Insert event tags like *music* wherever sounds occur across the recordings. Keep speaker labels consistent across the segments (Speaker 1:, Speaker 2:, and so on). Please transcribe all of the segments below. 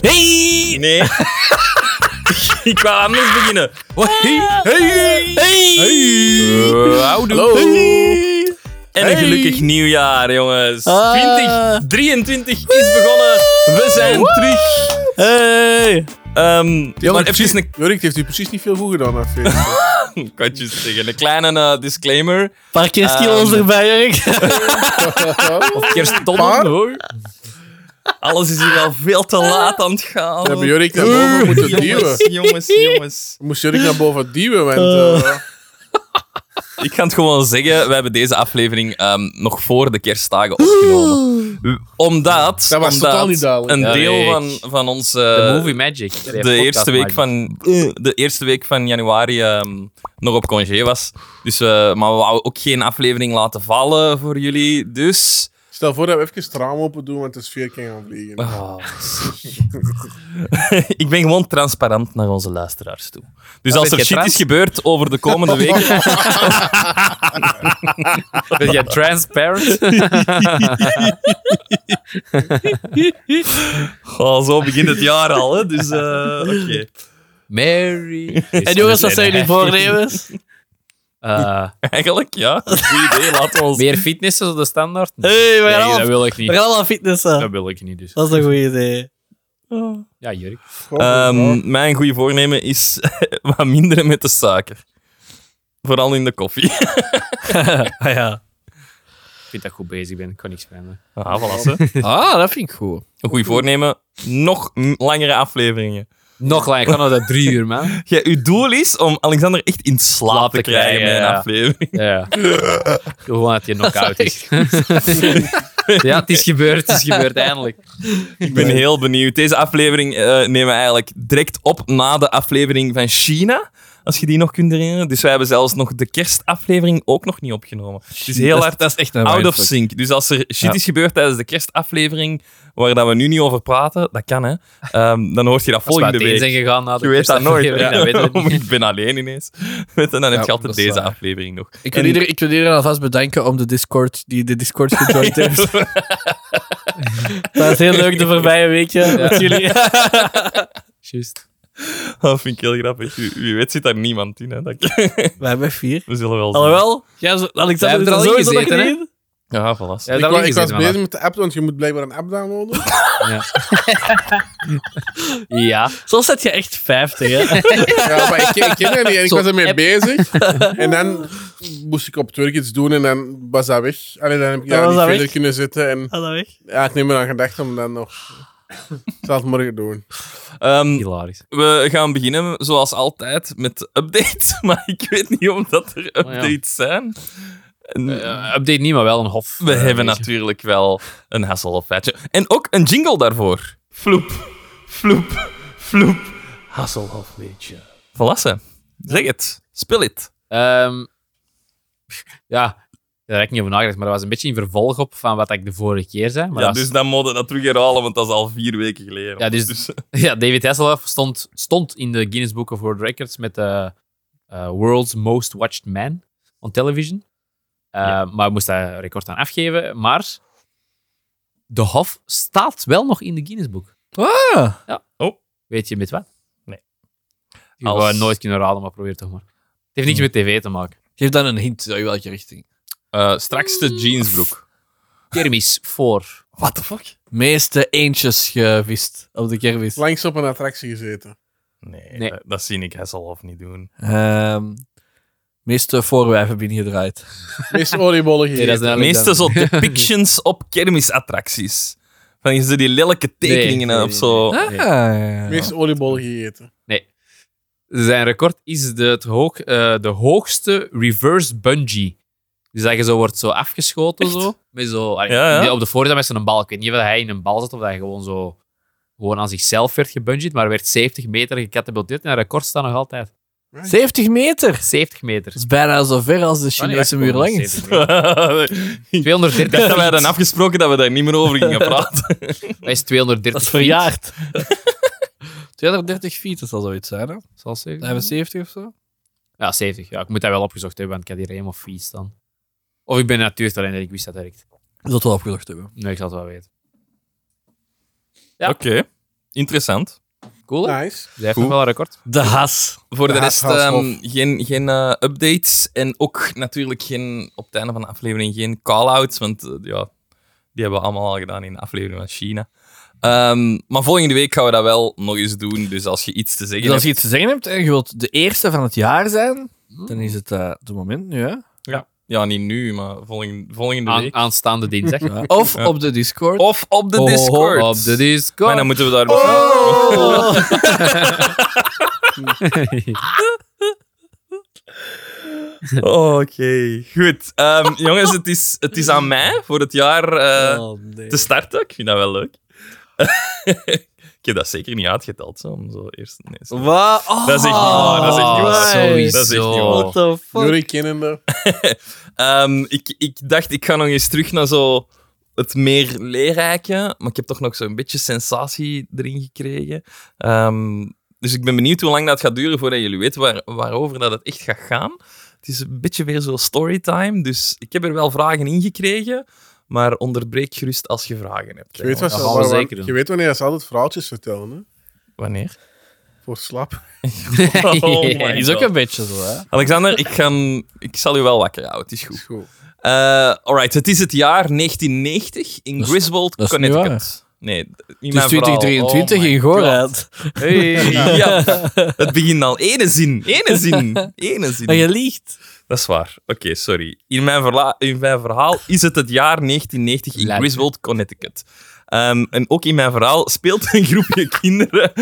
Speaker 1: Hey!
Speaker 2: Nee.
Speaker 1: *laughs* Ik wou anders beginnen. Hey! Hey! Hey! Eh, houdoe.
Speaker 2: Hallo.
Speaker 1: Hey. En een
Speaker 2: Hey.
Speaker 1: gelukkig nieuwjaar, jongens.
Speaker 2: Ah.
Speaker 1: 2023 is begonnen. We zijn terug.
Speaker 2: Hey.
Speaker 1: Ehm, maar
Speaker 3: precies,
Speaker 1: even een,
Speaker 3: Jorik heeft u precies niet veel goed gedaan. dat feest.
Speaker 1: *laughs* ik wou het juist zeggen, een kleine eh, disclaimer.
Speaker 2: Paar kerstkilo's
Speaker 1: Ehm.
Speaker 2: erbij, Erik.
Speaker 1: Of kersttonnen,
Speaker 3: Paar?
Speaker 1: hoor. Alles is hier al veel te laat aan het gaan.
Speaker 3: We hebben Jorik naar boven moeten duwen.
Speaker 1: jongens, jongens, jongens.
Speaker 3: We moesten Jorik naar boven duwen, want... eh,
Speaker 1: Ik ga het gewoon zeggen, we hebben deze aflevering ehm, nog voor de kerstdagen opgenomen. Omdat,
Speaker 3: Dat was
Speaker 1: omdat
Speaker 3: totaal niet duidelijk.
Speaker 1: een
Speaker 4: Ja,
Speaker 1: deel
Speaker 4: nee,
Speaker 1: van,
Speaker 4: ik-
Speaker 1: van onze...
Speaker 4: De movie magic.
Speaker 1: de eerste, week van, de eerste week van januari ehm, nog op congé was. Dus, eh, maar we wouden ook geen aflevering laten vallen voor jullie. Dus...
Speaker 3: stel voor dat we even het raam open doen, want de sfeer kan gaan vliegen.
Speaker 1: ik ben gewoon transparant naar onze luisteraars toe. Dus
Speaker 4: Dat
Speaker 1: als er
Speaker 4: is
Speaker 1: shit
Speaker 4: getrans-
Speaker 1: is gebeurd over de komende weken,
Speaker 4: Ben jij transparant?
Speaker 2: *laughs*
Speaker 1: Oh, zo begint het jaar al, hè? Dus, eh, oké. *laughs*
Speaker 4: Mary.
Speaker 2: En jongens, wat zijn jullie voornemens?
Speaker 4: *laughs*
Speaker 1: *laughs*
Speaker 4: Eh,
Speaker 1: Eigenlijk, ja. Goed idee, laten we ons...
Speaker 4: meer fitness is de standaard? Nee,
Speaker 2: Hey, we gaan
Speaker 4: dat
Speaker 2: allemaal-
Speaker 4: wil ik
Speaker 2: we
Speaker 4: niet.
Speaker 2: gaan allemaal fitnessen.
Speaker 4: Dat wil ik niet, dus.
Speaker 2: Dat is een goed idee.
Speaker 4: Ja, Jurk.
Speaker 3: Goh,
Speaker 1: Ehm, mijn goede voornemen is *laughs* wat minderen met de suiker. Vooral in de koffie. *laughs*
Speaker 2: Ah ja.
Speaker 4: Ik vind dat ik goed bezig ben. Ik kan niks veranderen.
Speaker 1: Ah, voilà, hè.
Speaker 4: *laughs* Ah, dat vind ik goed.
Speaker 1: Een goed voornemen, nog m- langere afleveringen.
Speaker 4: Nog langer. Ik kan nog dat drie uur, man.
Speaker 1: Ja, uw doel is om Alexander echt in slaap
Speaker 4: Slaap
Speaker 1: te
Speaker 4: te
Speaker 1: krijgen,
Speaker 4: krijgen,
Speaker 1: met een
Speaker 4: ja.
Speaker 1: aflevering.
Speaker 4: Ja, ja. Ik wil gewoon dat je knock-out *laughs* is. ja, het is gebeurd. Het is gebeurd, eindelijk.
Speaker 1: Ik ben heel benieuwd. Deze aflevering eh, nemen we eigenlijk direct op na de aflevering van China. Als je die nog kunt herinneren. Dus wij hebben zelfs nog de kerstaflevering ook nog niet opgenomen. Dus heel
Speaker 4: Dat is-
Speaker 1: hard
Speaker 4: Dat is echt een
Speaker 1: out of
Speaker 4: mindfuck.
Speaker 1: sync. Dus als er shit
Speaker 4: Ja.
Speaker 1: is gebeurd tijdens de kerstaflevering, waar dat we nu niet over praten, dat kan hè, Ehm, dan hoort je dat
Speaker 4: Als we
Speaker 1: volgende
Speaker 4: uiteen
Speaker 1: week.
Speaker 4: zijn gegaan na de
Speaker 1: Je weet dat nooit.
Speaker 4: kerstaflevering,
Speaker 1: Ja.
Speaker 4: dat weten
Speaker 1: *laughs*
Speaker 4: we niet.
Speaker 1: ik ben alleen ineens. Weet je, dan heb je
Speaker 5: Ja,
Speaker 1: altijd
Speaker 5: dat is
Speaker 1: deze
Speaker 5: waar.
Speaker 1: aflevering nog. *laughs*
Speaker 5: Ik wil, iedereen, ik wil iedereen alvast bedanken om de Discord, die de Discord
Speaker 4: *laughs*
Speaker 5: gejoined heeft.
Speaker 2: Dat was heel
Speaker 5: *laughs*
Speaker 2: leuk de voorbije weekje met jullie.
Speaker 4: *laughs* Juist.
Speaker 1: Dat vind ik heel grappig. Wie wie weet zit daar niemand in. Hè. Dat, *laughs*
Speaker 5: We hebben vier.
Speaker 1: we zullen wel zien.
Speaker 2: Alhoewel, ja, zo-
Speaker 4: Wij
Speaker 2: Alexander
Speaker 4: hebben
Speaker 2: is
Speaker 4: er
Speaker 2: er
Speaker 4: al
Speaker 2: sowieso
Speaker 4: in
Speaker 2: nog
Speaker 4: gezeten,
Speaker 2: niet in.
Speaker 1: Ja, voilà.
Speaker 4: Ja,
Speaker 3: ik, wa-
Speaker 4: dat was
Speaker 3: ik was bezig met de app, want je moet blijkbaar een app downloaden. *laughs*
Speaker 4: Ja.
Speaker 2: Soms zet je echt 50, hè.
Speaker 4: *laughs*
Speaker 3: Ja, maar ik, ik ken dat niet en ik
Speaker 4: Zo'n
Speaker 3: was ermee
Speaker 4: app.
Speaker 3: bezig. En dan moest ik op het werk iets doen en dan was dat weg. Allee, dan heb ik
Speaker 2: Dan
Speaker 3: daar
Speaker 2: was
Speaker 3: niet
Speaker 2: dat
Speaker 3: verder
Speaker 2: weg.
Speaker 3: kunnen zitten. En
Speaker 2: Hallo, weg.
Speaker 3: ja, ik neem me aan gedacht om dan nog... Ik zal het morgen doen.
Speaker 1: Ehm,
Speaker 4: Hilarisch.
Speaker 1: we gaan beginnen, zoals altijd, met de update. *laughs* Maar ik weet niet of dat er
Speaker 4: ja.
Speaker 1: updates zijn. En-
Speaker 4: Eh, update niet, maar wel een hof.
Speaker 1: We
Speaker 4: Eh,
Speaker 1: hebben
Speaker 4: weet je.
Speaker 1: natuurlijk wel een Hasselhoff-feitje. En ook een jingle daarvoor. Floep, floep, floep. Hasselhoff-feitje. Verlassen. Zeg het. Speel het.
Speaker 4: Ehm, ja, daar heb ik niet over nagedacht, maar dat was een beetje in vervolg op van wat ik de vorige keer zei. Maar
Speaker 1: Ja,
Speaker 4: dat is-
Speaker 1: dus dan moet je dat terug herhalen, want dat is al vier weken geleden.
Speaker 4: Ja,
Speaker 1: *laughs*
Speaker 4: dus- ja, David Hasselhoff stond, stond in de Guinness Book of World Records met de eh, World's Most Watched Man on television. Eh, Maar moest daar record aan afgeven. Maar de Hof staat wel nog in de Guinness Book.
Speaker 5: Ah,
Speaker 4: Weet je met wat?
Speaker 1: Oh. Nee.
Speaker 4: Ik
Speaker 1: Als-
Speaker 4: wou het nooit kunnen raden, maar probeer toch maar. Het heeft niks met tv te maken.
Speaker 5: geef dan een hint uit welke richting.
Speaker 1: Eh, straks de jeansbroek.
Speaker 4: Kermis voor.
Speaker 1: What the fuck?
Speaker 5: Meeste eentjes gevist op de kermis.
Speaker 3: Langs op een attractie gezeten.
Speaker 1: Nee,
Speaker 4: Nee.
Speaker 1: Dat, dat zie ik Hasselhoff niet doen.
Speaker 5: Ehm, meeste voorwijven binnengedraaid.
Speaker 3: Meest oliebollen
Speaker 4: Nee,
Speaker 3: gegeten.
Speaker 4: dat is
Speaker 1: De
Speaker 4: duidelijk
Speaker 1: meeste
Speaker 4: dan.
Speaker 1: zo
Speaker 4: *laughs*
Speaker 1: depictions op kermisattracties. Van zo die lelijke tekeningen
Speaker 4: Nee, nee,
Speaker 1: of zo. *laughs*
Speaker 4: nee.
Speaker 5: Ah, ja.
Speaker 3: Meest oliebollen gegeten.
Speaker 4: Zijn record is de, het hoog, eh, de hoogste reverse bungee. Dus dat je zo wordt zo afgeschoten. Zo, met zo, allee,
Speaker 1: Ja, ja.
Speaker 4: nee, Op de voorzijde met zo'n bal. Ik weet niet of hij in een bal zat of dat hij gewoon zo gewoon aan zichzelf werd gebungeed, maar werd 70 meter gecatapulteerd. En dat record staat nog altijd.
Speaker 5: 70 meter!
Speaker 4: 70 meter.
Speaker 5: Dat is bijna zo ver als de Chinese muur lang is.
Speaker 1: *laughs*
Speaker 4: 230
Speaker 1: Ik dacht dat wij hadden
Speaker 4: feet.
Speaker 1: afgesproken dat we daar niet meer over
Speaker 4: *laughs*
Speaker 1: gingen praten.
Speaker 4: Dat is 230
Speaker 2: Dat is
Speaker 1: *laughs*
Speaker 2: verjaard.
Speaker 5: 230 feet, dat zal zoiets zijn, hè?
Speaker 4: feet, zal ik zeggen.
Speaker 5: 75 of zo?
Speaker 4: Ja, 70. Ja, ik moet dat wel opgezocht hebben, want ik had hier helemaal vies staan. Of ik ben natuurtalent en ik wist dat direct.
Speaker 5: Dat wel opgezocht hebben.
Speaker 4: Nee, ik zal het wel weten.
Speaker 1: Oké. Interessant.
Speaker 4: Cool. hè?
Speaker 3: Nice.
Speaker 4: Zij heeft
Speaker 1: Cool.
Speaker 4: nog wel een record.
Speaker 2: De has.
Speaker 1: Voor de,
Speaker 3: Ja,
Speaker 1: rest
Speaker 3: trouwens,
Speaker 1: ehm,
Speaker 3: Rolf.
Speaker 1: geen, geen eh, updates en ook natuurlijk geen, op het einde van de aflevering geen call-outs, want eh, ja, die hebben we allemaal al gedaan in de aflevering van China. Ehm, maar volgende week gaan we dat wel nog eens doen, dus als je iets te zeggen
Speaker 5: Dus als je
Speaker 1: hebt... Hm?
Speaker 5: iets te zeggen hebt en je wilt de eerste van het jaar zijn, dan is het eh de moment nu, hè?
Speaker 1: Ja, niet nu, maar volgende, volgende
Speaker 4: Aan-
Speaker 1: week.
Speaker 4: aanstaande dinsdag.
Speaker 5: Of op de Discord.
Speaker 1: Of op de
Speaker 5: Oh,
Speaker 1: Discord.
Speaker 4: Op de
Speaker 1: Maar dan
Speaker 4: Discord.
Speaker 1: moeten we daar... Oh, Oké, goed. Ehm, jongens, het is, het is aan mij voor het jaar eh, te starten. Ik vind dat wel leuk. *laughs* ik heb dat zeker niet uitgeteld, zo, om zo eerst... Nee, sorry.
Speaker 2: Wat?
Speaker 5: Oh,
Speaker 1: Dat is echt niet waar, dat is echt niet waar.
Speaker 5: Ah,
Speaker 2: Oh,
Speaker 1: Sorry. Dat is echt niet
Speaker 2: What
Speaker 1: waar.
Speaker 2: the fuck?
Speaker 3: Jullie kennende.
Speaker 1: Ehm, ik, ik dacht, ik ga nog eens terug naar zo het meer leerrijke, maar ik heb toch nog zo'n beetje sensatie erin gekregen. Ehm, dus ik ben benieuwd hoe lang dat gaat duren voordat jullie weten waar, waarover dat het echt gaat gaan. Het is een beetje weer zo storytime, dus ik heb er wel vragen in gekregen, maar onderbreek gerust als je vragen hebt.
Speaker 3: Je weet, wat
Speaker 1: jongens.
Speaker 3: ze,
Speaker 4: Dat gaan we
Speaker 3: waar-
Speaker 4: zeker doen.
Speaker 3: je weet wanneer ze altijd verhaaltjes vertellen, hè?
Speaker 1: Wanneer?
Speaker 3: Voor slaap.
Speaker 1: *laughs* Oh my *laughs*
Speaker 5: is ook
Speaker 1: God.
Speaker 5: een beetje zo, hè?
Speaker 1: Alexander, ik, ga, hem- ik zal u wel wakker houden, het is goed.
Speaker 3: Is goed.
Speaker 1: Eh, alright, het is het jaar 1990 in
Speaker 5: Dat is-
Speaker 1: Griswold,
Speaker 5: dat is niet
Speaker 1: Connecticut. Nee, d- niet
Speaker 5: Het is
Speaker 1: mijn verhaal.
Speaker 5: 2023
Speaker 1: Oh my
Speaker 5: in Goorland.
Speaker 4: *laughs*
Speaker 1: God. *laughs* Ja, het begint al. Ene zin, ene zin, ene zin.
Speaker 2: Maar je liegt.
Speaker 1: Dat is waar. Oké, sorry. In mijn, verla- in mijn verhaal is het het jaar 1990 in
Speaker 4: Lijkt.
Speaker 1: Griswold, Connecticut. Ehm, en ook in mijn verhaal speelt een groepje *laughs* kinderen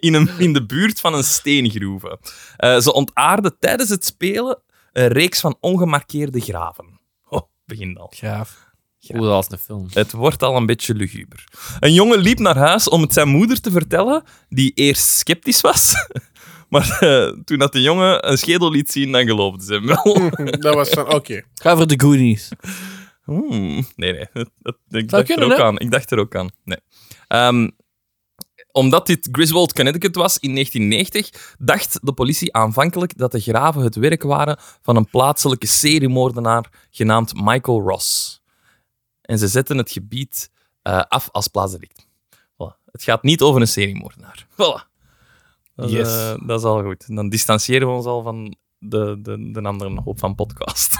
Speaker 1: in, een, in de buurt van een steengroeve. Eh, ze ontaarden tijdens het spelen een reeks van ongemarkeerde graven. Oh, begin al.
Speaker 5: Graaf.
Speaker 4: Hoe dat als een film.
Speaker 1: Het wordt al een beetje luguber. Een jongen liep naar huis om het zijn moeder te vertellen, die eerst sceptisch was. *laughs* Maar eh, toen dat de jongen een schedel liet zien, dan geloofde ze hem wel.
Speaker 3: *laughs* Dat was van, oké.
Speaker 5: Ga voor de Goonies.
Speaker 1: Hmm, nee, *laughs* nee. Dat, dat- ik, dacht
Speaker 5: kunnen,
Speaker 1: er ook
Speaker 5: hè?
Speaker 1: aan. ik dacht er ook aan. Nee. Ehm, omdat dit Griswold, Connecticut was in 1990, dacht de politie aanvankelijk dat de graven het werk waren van een plaatselijke seriemoordenaar genaamd Michael Ross. En ze zetten het gebied eh, af als plaatsdelict. Voilà. Het gaat niet over een seriemoordenaar. Voilà. Dat, is,
Speaker 2: Yes.
Speaker 1: eh, dat is al goed. Dan distancieren we ons al van de, de, de andere hoop van podcast.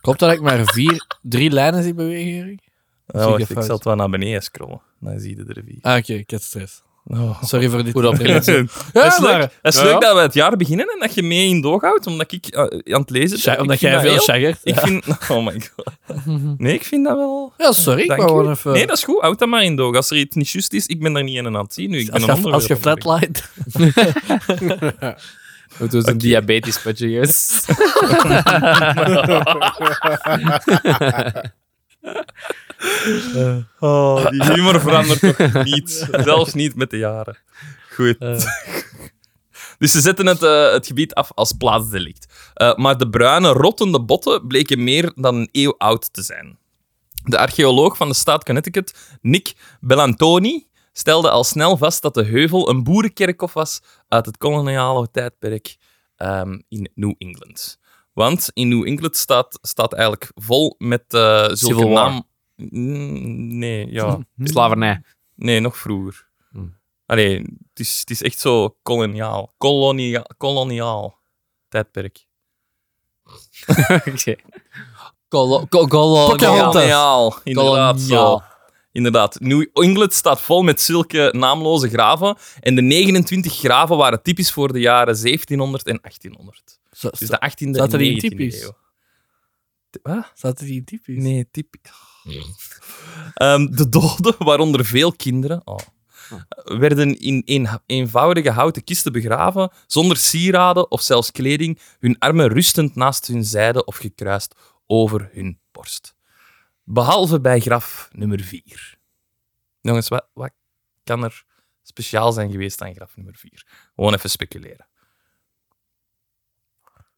Speaker 5: Klopt dat ik maar vier, drie lijnen zie bewegen, Erik?
Speaker 1: Ja, Oh, wacht, ik
Speaker 5: fout.
Speaker 1: zal het wel naar beneden scrollen. Dan zie je de rivier.
Speaker 5: Ah, oké, ik had stress. Oh, Sorry voor dit. Hoe dat
Speaker 1: Het is
Speaker 5: *laughs* Ja,
Speaker 1: leuk,
Speaker 5: maar...
Speaker 1: het is
Speaker 4: Ja.
Speaker 1: leuk dat we het jaar beginnen en dat je mee in doog houdt, omdat ik eh, aan het lezen ben.
Speaker 5: Ja,
Speaker 1: Ik
Speaker 5: omdat jij
Speaker 1: vind dat
Speaker 5: veel
Speaker 1: heel-
Speaker 5: shagger.
Speaker 1: Ik vind... *laughs* Oh my god. Nee, ik vind dat wel...
Speaker 5: Ja, sorry, ik
Speaker 1: Dank
Speaker 5: wou
Speaker 1: u.
Speaker 5: gewoon even...
Speaker 1: Nee, dat is goed. Houd dat maar in doog. Als er iets niet juist is, ik ben daar niet in aan het zien. Nu, ik ben
Speaker 5: als,
Speaker 1: een
Speaker 5: je, als je
Speaker 1: onderwerp aan
Speaker 5: flatlight...
Speaker 4: Het was een diabetisch putje, juist.
Speaker 1: het brengen. Die humor verandert
Speaker 4: *laughs*
Speaker 1: toch niet. Zelfs niet met de jaren. Goed. *laughs* Dus ze zetten het, eh, het gebied af als plaatsdelict. Eh, maar de bruine, rottende botten bleken meer dan een eeuw oud te zijn. De archeoloog van de staat Connecticut, Nick Bellantoni, stelde al snel vast dat de heuvel een boerenkerkhof was uit het koloniale tijdperk ehm, in New England. Want in New England staat, staat eigenlijk vol met eh zulke
Speaker 4: Civil War.
Speaker 1: naam- Mm, Nee, ja.
Speaker 4: Slavernij.
Speaker 1: Nee, nog vroeger.
Speaker 4: Hmm.
Speaker 1: Allee, het is, het is echt zo koloniaal. Kolonia koloniaal tijdperk.
Speaker 4: Oké.
Speaker 5: Golo- go- golo- Pocahontas.
Speaker 1: Koloniaal, inderdaad.
Speaker 5: Koloniaal.
Speaker 1: Zo. Inderdaad. New England staat vol met zulke naamloze graven. En de 29 graven waren typisch voor de jaren 1700 en 1800.
Speaker 5: Zo-
Speaker 1: Dus de 18e
Speaker 5: Zaten
Speaker 1: en
Speaker 5: die in
Speaker 1: 19e
Speaker 5: typisch?
Speaker 1: eeuw. T- Wat?
Speaker 5: Zaten die typisch?
Speaker 1: Nee, typisch. Ehm, de doden, waaronder veel kinderen, oh, werden in een, eenvoudige houten kisten begraven, zonder sieraden of zelfs kleding, hun armen rustend naast hun zijde of gekruist over hun borst. Behalve bij graf nummer 4. Jongens, wat, wat kan er speciaal zijn geweest aan graf nummer 4? Gewoon even speculeren.